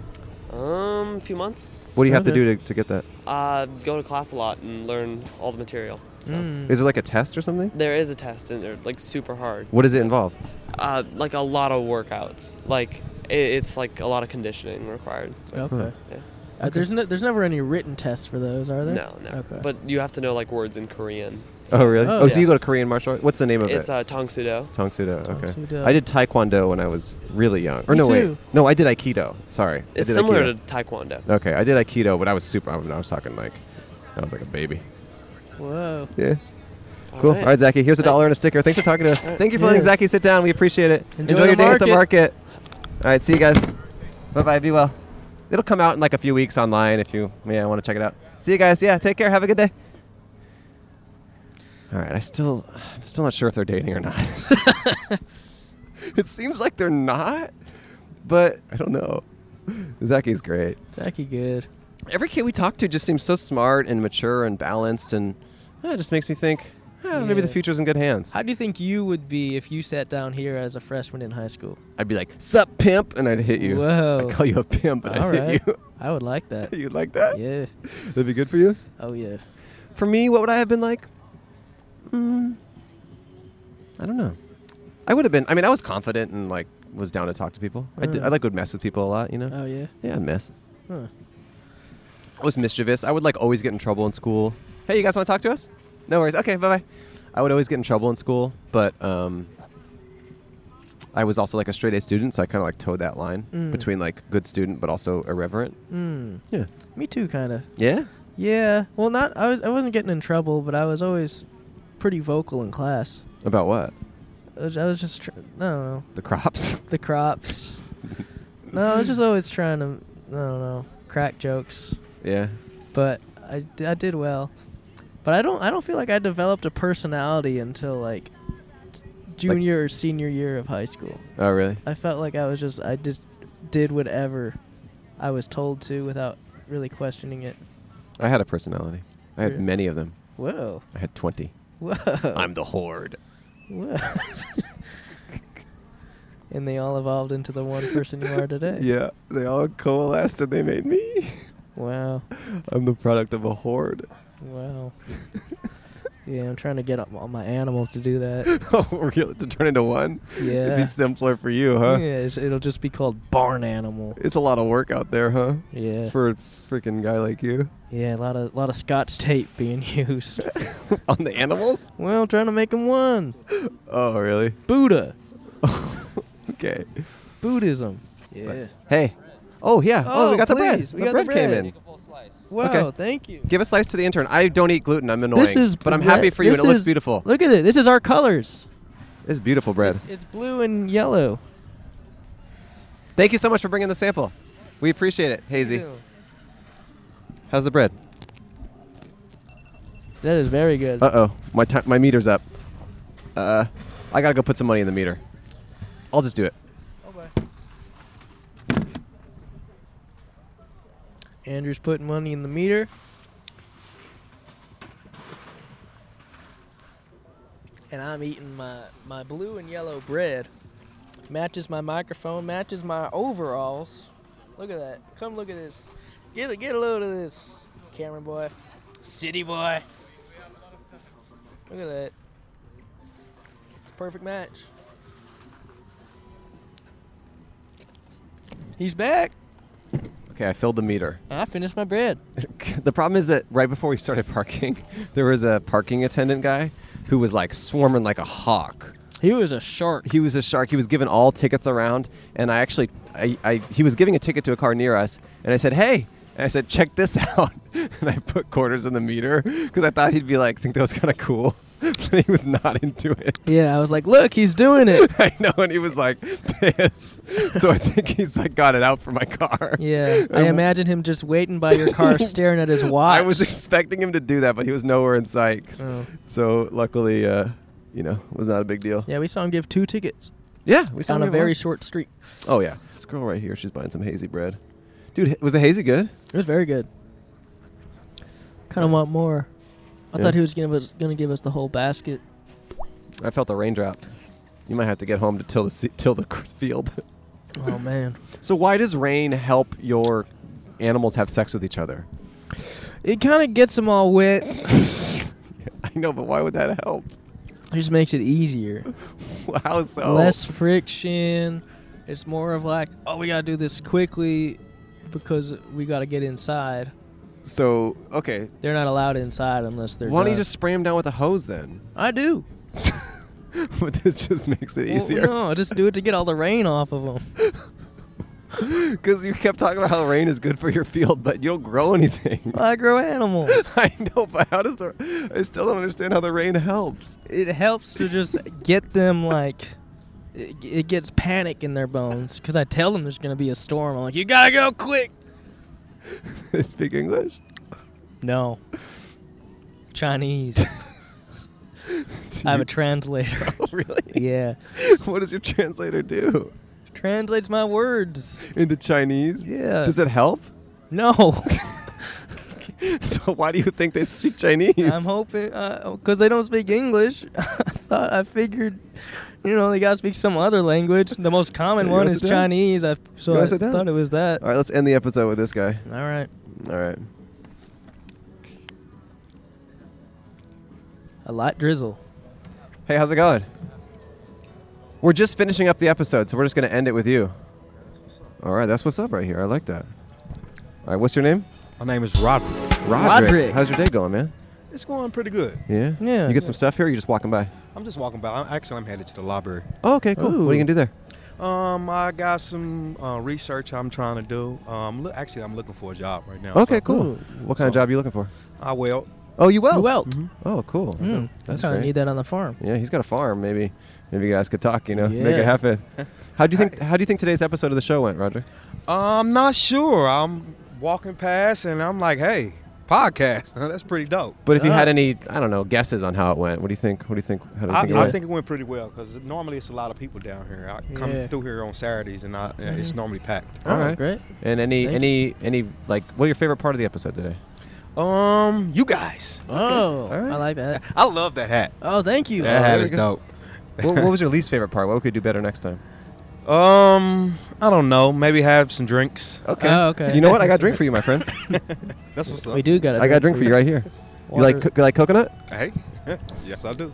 Speaker 7: um, a few months.
Speaker 2: What do you have to
Speaker 1: Okay.
Speaker 2: do to, to get that?
Speaker 7: Uh, go to class a lot and learn all the material. So
Speaker 1: [LAUGHS] Mm.
Speaker 2: Is there like a test or something?
Speaker 7: there is a test and they're like super hard.
Speaker 2: What does it involve?
Speaker 7: Uh, like a lot of workouts. Like i it's like a lot of conditioning required.
Speaker 1: Okay.
Speaker 7: Yeah.
Speaker 1: Uh, there's no, there's never any written tests for those, are there?
Speaker 7: No, no.
Speaker 1: Okay.
Speaker 7: But you have to know like words in Korean.
Speaker 2: Oh, really?
Speaker 1: Oh,
Speaker 2: Oh, so
Speaker 7: yeah.
Speaker 2: you go to Korean martial art? What's the name of
Speaker 7: It's
Speaker 2: it?
Speaker 7: uh, Tong Sudo.
Speaker 2: Tong Sudo. Okay.
Speaker 1: Tangsudo.
Speaker 2: I did Taekwondo when I was really young. Or
Speaker 1: Me
Speaker 2: no,
Speaker 1: too.
Speaker 2: wait. No, I did Aikido. Sorry. I
Speaker 7: It's
Speaker 2: did
Speaker 7: similar
Speaker 2: Aikido.
Speaker 7: to Taekwondo.
Speaker 2: Okay, I did Aikido, but I was super. I, mean, I was talking like, I was like a baby.
Speaker 1: Whoa.
Speaker 2: Yeah. Cool. All right, Zachy. Here's a dollar and a sticker. Thanks for talking to us. Thank you for letting
Speaker 1: Yeah.
Speaker 2: Zachy sit down. We appreciate it.
Speaker 1: Enjoy
Speaker 2: your
Speaker 1: the
Speaker 2: day at the market. All right. See you guys. Bye bye. Be well. It'll come out in like a few weeks online if you yeah want to check it out. See you guys. Yeah. Take care. Have a good day. All right. I still I'm still not sure if they're dating or not. [LAUGHS] it seems like they're not, but I don't know. Zachy's great
Speaker 1: Zachy good.
Speaker 2: every kid we talk to just seems so smart and mature and balanced and uh, it just makes me think eh, maybe the
Speaker 1: Yeah.
Speaker 2: future's in good hands
Speaker 1: How do you think you would be if you sat down here as a freshman in high
Speaker 2: [LAUGHS]
Speaker 1: school?
Speaker 2: i'd be like sup pimp and i'd hit you
Speaker 1: Whoa.
Speaker 2: i'd call you a pimp and
Speaker 1: All
Speaker 2: i'd
Speaker 1: right.
Speaker 2: hit
Speaker 1: I would like that.
Speaker 2: you [LAUGHS] you'd like that
Speaker 1: Yeah.
Speaker 2: that'd be good for you
Speaker 1: Oh yeah.
Speaker 2: for me what would i have been like mm, i don't know i would have been i mean i was confident and like was down to talk to people I, did,
Speaker 1: Mm.
Speaker 2: I like would mess with people a lot you know
Speaker 1: Oh yeah.
Speaker 2: yeah i mess
Speaker 1: Huh.
Speaker 2: I was mischievous. I would like always get in trouble in school. Hey, you guys want to talk to us? No worries. Okay, bye bye. I would always get in trouble in school, but um, I was also like a straight A student, so I kind of like towed that line
Speaker 1: Mm.
Speaker 2: between like good student but also irreverent.
Speaker 1: Mm.
Speaker 2: Yeah.
Speaker 1: Me too, kind of.
Speaker 2: Yeah.
Speaker 1: Yeah. Well, not. I was. I wasn't getting in trouble, but I was always pretty vocal in class.
Speaker 2: About what?
Speaker 1: I was, I was just. Tr- I don't know.
Speaker 2: The crops. [LAUGHS]
Speaker 1: The crops. no, I was just always trying to. I don't know. Crack jokes.
Speaker 2: yeah.
Speaker 1: but I, d- I did well. But I don't I don't feel like I developed a personality until like s- junior or senior year of high school.
Speaker 2: Oh really?
Speaker 1: I felt like I was just I just did whatever I was told to without really questioning it.
Speaker 2: I had a personality. I had
Speaker 1: Yeah.
Speaker 2: many of them.
Speaker 1: Whoa. [LAUGHS]
Speaker 2: I had twenty.
Speaker 1: Whoa.
Speaker 2: I'm the horde.
Speaker 1: Whoa. and they all evolved into the [LAUGHS] one person you are today.
Speaker 2: [LAUGHS] Yeah, they all coalesced and they made me. [LAUGHS]
Speaker 1: Wow.
Speaker 2: I'm the product of a horde. [LAUGHS]
Speaker 1: Wow. yeah, I'm trying to get up- all my animals to do
Speaker 2: [LAUGHS]
Speaker 1: that.
Speaker 2: oh, really? To turn into one? It'd
Speaker 1: Yeah.
Speaker 2: be simpler for you, huh?
Speaker 1: Yeah, it's- it'll just be called barn animal.
Speaker 2: It's a lot of work out there, huh?
Speaker 1: Yeah.
Speaker 2: For a freaking guy like you. [LAUGHS]
Speaker 1: Yeah, a lot of lot of Scotch tape being [LAUGHS] used.
Speaker 2: On the animals?
Speaker 1: well, trying to make him one.
Speaker 2: Oh, really? [LAUGHS]
Speaker 1: Buddha,
Speaker 2: Okay.
Speaker 1: Buddhism. Yeah.
Speaker 2: Hey. Oh, yeah. Oh, we
Speaker 1: Oh,
Speaker 2: got the bread.
Speaker 1: please, we
Speaker 2: the
Speaker 1: got
Speaker 2: bread
Speaker 1: the
Speaker 2: came
Speaker 1: bread.
Speaker 2: in.
Speaker 1: Wow,
Speaker 2: Okay.
Speaker 1: thank you.
Speaker 2: Give a slice to the intern. I don't eat gluten. I'm annoying.
Speaker 1: This is
Speaker 2: but I'm
Speaker 1: bre-
Speaker 2: happy for you and
Speaker 1: this
Speaker 2: it looks
Speaker 1: is-
Speaker 2: beautiful.
Speaker 1: Look at it. This is our colors.
Speaker 2: It's beautiful bread.
Speaker 1: It's, it's blue and yellow.
Speaker 2: Thank you so much for bringing the sample. We appreciate it, Hazy. How's the bread?
Speaker 1: That is very good.
Speaker 2: Uh-oh. My ti my meter's up. Uh I got to go put some money in the meter. I'll just do it.
Speaker 1: Andrew's putting money in the meter. And I'm eating my, my blue and yellow bread. Matches my microphone, matches my overalls. Look at that. Come look at this. Get a, get a load of this, camera boy. City boy. Look at that. Perfect match. He's back.
Speaker 2: Okay, I filled the meter. [LAUGHS]
Speaker 1: I finished my bread.
Speaker 2: the problem is that right before we started parking, [LAUGHS] there was a parking attendant guy who was like swarming like a hawk.
Speaker 1: He was a shark.
Speaker 2: He was a shark. He was giving all tickets around, and I actually, I, I, he was giving a ticket to a car near us, and I said, "Hey, And I said, check this [LAUGHS] out. And I put quarters in the meter because I thought he'd be like, think that was kind of cool. [LAUGHS] but he was not into it.
Speaker 1: Yeah, I was like, look, he's doing
Speaker 2: [LAUGHS]
Speaker 1: it.
Speaker 2: I know. And he was like, pissed. so I think he's like, got it out for my car. [LAUGHS]
Speaker 1: Yeah, I
Speaker 2: w-
Speaker 1: imagine him just waiting by your
Speaker 2: [LAUGHS]
Speaker 1: car, staring at his watch.
Speaker 2: I was expecting him to do that, but he was nowhere in sight.
Speaker 1: Oh.
Speaker 2: So luckily, uh, you know, it was not a big deal.
Speaker 1: Yeah, we saw him give two tickets
Speaker 2: Yeah, we saw
Speaker 1: on
Speaker 2: him
Speaker 1: a
Speaker 2: have
Speaker 1: very
Speaker 2: lunch.
Speaker 1: short street.
Speaker 2: Oh yeah, this girl right here, she's buying some hazy bread. Dude, h- was the hazy good?
Speaker 1: It was very good. Kind of want more. I
Speaker 2: Yeah.
Speaker 1: thought he was gonna give us, gonna give us the whole basket.
Speaker 2: I felt the raindrop. You might have to get home to till the se- till the cr- field. [LAUGHS]
Speaker 1: Oh man,
Speaker 2: so why does rain help your animals have sex with each other? [LAUGHS]
Speaker 1: it kind of gets them all wet.
Speaker 2: I know, but why would that help? [LAUGHS]
Speaker 1: It just makes it easier.
Speaker 2: How so?
Speaker 1: Less friction. It's more of like, oh, we gotta do this quickly because we gotta get inside.
Speaker 2: So okay,
Speaker 1: They're not allowed inside unless they're.
Speaker 2: why don't you
Speaker 1: done.
Speaker 2: just spray them down with a hose then?
Speaker 1: I do.
Speaker 2: [LAUGHS] but this just makes it
Speaker 1: Well,
Speaker 2: easier. [LAUGHS]
Speaker 1: no, I just do it to get all the rain off of them.
Speaker 2: Because you kept talking about how rain is good for your field, but you don't grow anything.
Speaker 1: [LAUGHS] I grow animals.
Speaker 2: [LAUGHS] I know, but how does the? I still don't understand how the rain helps. [LAUGHS]
Speaker 1: It helps to just get them like. It, it gets panic in their bones because I tell them there's gonna be a storm. I'm like, you gotta go quick.
Speaker 2: They speak English.
Speaker 1: No. Chinese. I
Speaker 2: [LAUGHS]
Speaker 1: have a translator.
Speaker 2: Oh, really?
Speaker 1: yeah,
Speaker 2: [LAUGHS] What does your translator do
Speaker 1: translates my words.
Speaker 2: into Chinese?
Speaker 1: Yeah.
Speaker 2: Does it [LAUGHS] help?
Speaker 1: No.
Speaker 2: So why do you think they speak Chinese?
Speaker 1: I'm hoping because they don't speak English. [LAUGHS] I thought I figured, you know, they gotta speak some other language. The most common
Speaker 2: You
Speaker 1: one
Speaker 2: wanna
Speaker 1: is
Speaker 2: sit down?
Speaker 1: Chinese. I
Speaker 2: You
Speaker 1: so I
Speaker 2: wanna sit down?
Speaker 1: thought it was that.
Speaker 2: All right, let's end the episode with this guy.
Speaker 1: All right,
Speaker 2: All right.
Speaker 1: a light drizzle.
Speaker 2: Hey, how's it going? We're just finishing up the episode, so we're just going to end it with you. All right, that's what's up right here. I like that. All right, what's your name?
Speaker 9: My name is Roderick.
Speaker 2: Roderick.
Speaker 1: Roderick.
Speaker 2: How's your day going, man?
Speaker 9: It's going pretty good.
Speaker 2: Yeah.
Speaker 1: Yeah.
Speaker 2: You get some stuff here. Or you just walking by.
Speaker 9: I'm just walking by. I'm, actually, I'm headed to the library.
Speaker 2: Oh, okay, cool. What are
Speaker 1: Ooh.
Speaker 2: you gonna do there?
Speaker 9: Um, I got some uh, research I'm trying to do. Um, look, actually, I'm looking for a job right now.
Speaker 2: Okay,
Speaker 9: so
Speaker 2: cool.
Speaker 1: Ooh.
Speaker 2: What kind of
Speaker 9: So-
Speaker 2: job are you looking for?
Speaker 9: I will.
Speaker 2: Oh, you will.
Speaker 1: You welt.
Speaker 2: Oh, cool.
Speaker 1: Mm, I
Speaker 2: That's
Speaker 1: kind of
Speaker 2: great.
Speaker 1: need that on the farm.
Speaker 2: Yeah, he's got a farm. Maybe, maybe you guys could talk. You know, make
Speaker 1: Yeah. [LAUGHS]
Speaker 2: it happen. How do you think? How do you think today's episode of the show went, Roger?
Speaker 9: I'm not sure. I'm walking past, and I'm like, hey, podcast. [LAUGHS] That's pretty dope.
Speaker 2: But if you
Speaker 1: Uh,
Speaker 2: had any, I don't know, guesses on how it went, what do you think? What do you think? How do you
Speaker 9: I,
Speaker 2: think it
Speaker 9: I
Speaker 2: went?
Speaker 9: think it went pretty well because normally it's a lot of people down here. I come
Speaker 1: Yeah.
Speaker 9: through here on Saturdays, and I, yeah, it's normally packed.
Speaker 2: All
Speaker 1: Oh,
Speaker 2: right.
Speaker 1: great.
Speaker 2: and any,
Speaker 1: Thank
Speaker 2: any, any, like, what your favorite part of the episode [LAUGHS] today?
Speaker 9: Um, you guys,
Speaker 1: Oh,
Speaker 2: All right.
Speaker 1: I like that.
Speaker 9: I love that hat.
Speaker 1: Oh, thank you.
Speaker 9: That hat
Speaker 2: there
Speaker 9: is
Speaker 2: we
Speaker 9: dope.
Speaker 2: go. what, what was your least favorite part? What could we do better next time?
Speaker 9: Um, I don't know. Maybe have some drinks.
Speaker 2: Okay.
Speaker 1: Oh, okay.
Speaker 2: You know what? I got a drink for you, my friend.
Speaker 9: That's what's up.
Speaker 1: We do got
Speaker 2: [LAUGHS] I got a drink for you right here. You like, co- you like coconut?
Speaker 9: Hey, [LAUGHS] yes, I do.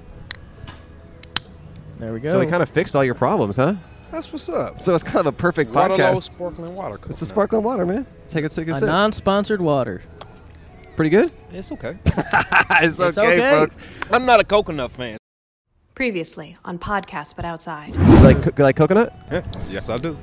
Speaker 1: There we go.
Speaker 2: So we kind of fixed all your problems, huh?
Speaker 9: That's what's up.
Speaker 2: So it's kind of a perfect
Speaker 9: Waterloo
Speaker 2: podcast.
Speaker 9: sparkling water.
Speaker 2: It's
Speaker 9: coconut.
Speaker 2: a sparkling water, man. Take a take a
Speaker 1: a
Speaker 2: sip.
Speaker 1: non-sponsored water.
Speaker 2: Pretty good.
Speaker 9: [LAUGHS] It's okay.
Speaker 2: it's,
Speaker 1: It's okay.
Speaker 9: I'm not a coconut fan.
Speaker 10: Previously on Podcast But Outside.
Speaker 2: You like co- you like coconut?
Speaker 9: yes, I do.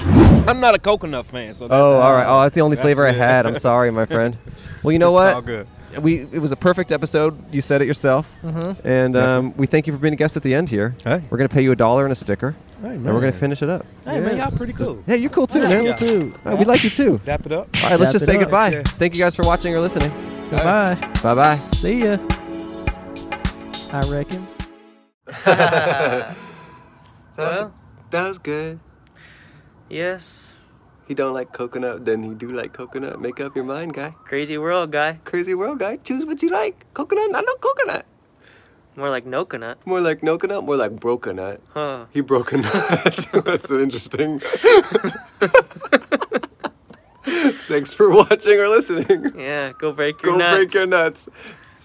Speaker 9: [LAUGHS] I'm not a coconut fan. So that's
Speaker 2: Oh, all right. Oh, that's the only
Speaker 9: That's
Speaker 2: flavor I
Speaker 9: it.
Speaker 2: had. I'm sorry, my
Speaker 9: [LAUGHS]
Speaker 2: friend. Well, you know
Speaker 9: It's
Speaker 2: what?
Speaker 9: all good.
Speaker 2: We it was a perfect episode. You said it yourself,
Speaker 1: Mm-hmm.
Speaker 2: and um, we thank you for being a guest at the end here.
Speaker 9: Hey.
Speaker 2: We're gonna pay you a dollar and a sticker,
Speaker 9: Hey,
Speaker 2: and we're gonna
Speaker 9: man.
Speaker 2: finish it up.
Speaker 9: Hey man, y'all pretty cool.
Speaker 2: Hey, you're cool too, man.
Speaker 9: you.
Speaker 2: too. we like you too.
Speaker 9: Dap it up.
Speaker 2: All right,
Speaker 1: Wrap
Speaker 2: let's just
Speaker 1: it
Speaker 2: say
Speaker 1: up.
Speaker 2: goodbye.
Speaker 9: Yes, yes.
Speaker 2: Thank you guys for watching or listening.
Speaker 1: Goodbye.
Speaker 2: Bye bye.
Speaker 1: See ya. I reckon.
Speaker 11: That was,
Speaker 12: Well.
Speaker 11: that was good.
Speaker 12: Yes,
Speaker 11: He don't like coconut, then he do like coconut. Make up your mind, guy.
Speaker 12: crazy world guy.
Speaker 11: Crazy world, guy. Choose what you like. Coconut, not no coconut.
Speaker 12: More like no coconut.
Speaker 11: More like no coconut, more like broken nut.
Speaker 12: Huh.
Speaker 11: He broke a nut. [LAUGHS] That's an
Speaker 12: [LAUGHS]
Speaker 11: interesting. Thanks for watching or listening.
Speaker 12: Yeah, go break your
Speaker 11: Go
Speaker 12: nuts.
Speaker 11: break your nuts.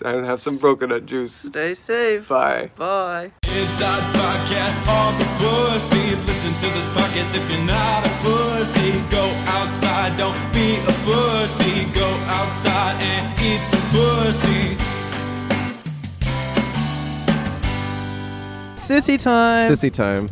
Speaker 11: And have some broken nut juice.
Speaker 12: Stay safe.
Speaker 11: Bye.
Speaker 12: Bye.
Speaker 13: Inside podcast, all the pussies. Listen to this podcast if you're not a pussy. Go outside, don't be a pussy. Go outside and eat some pussy.
Speaker 1: Sissy time.
Speaker 2: Sissy time.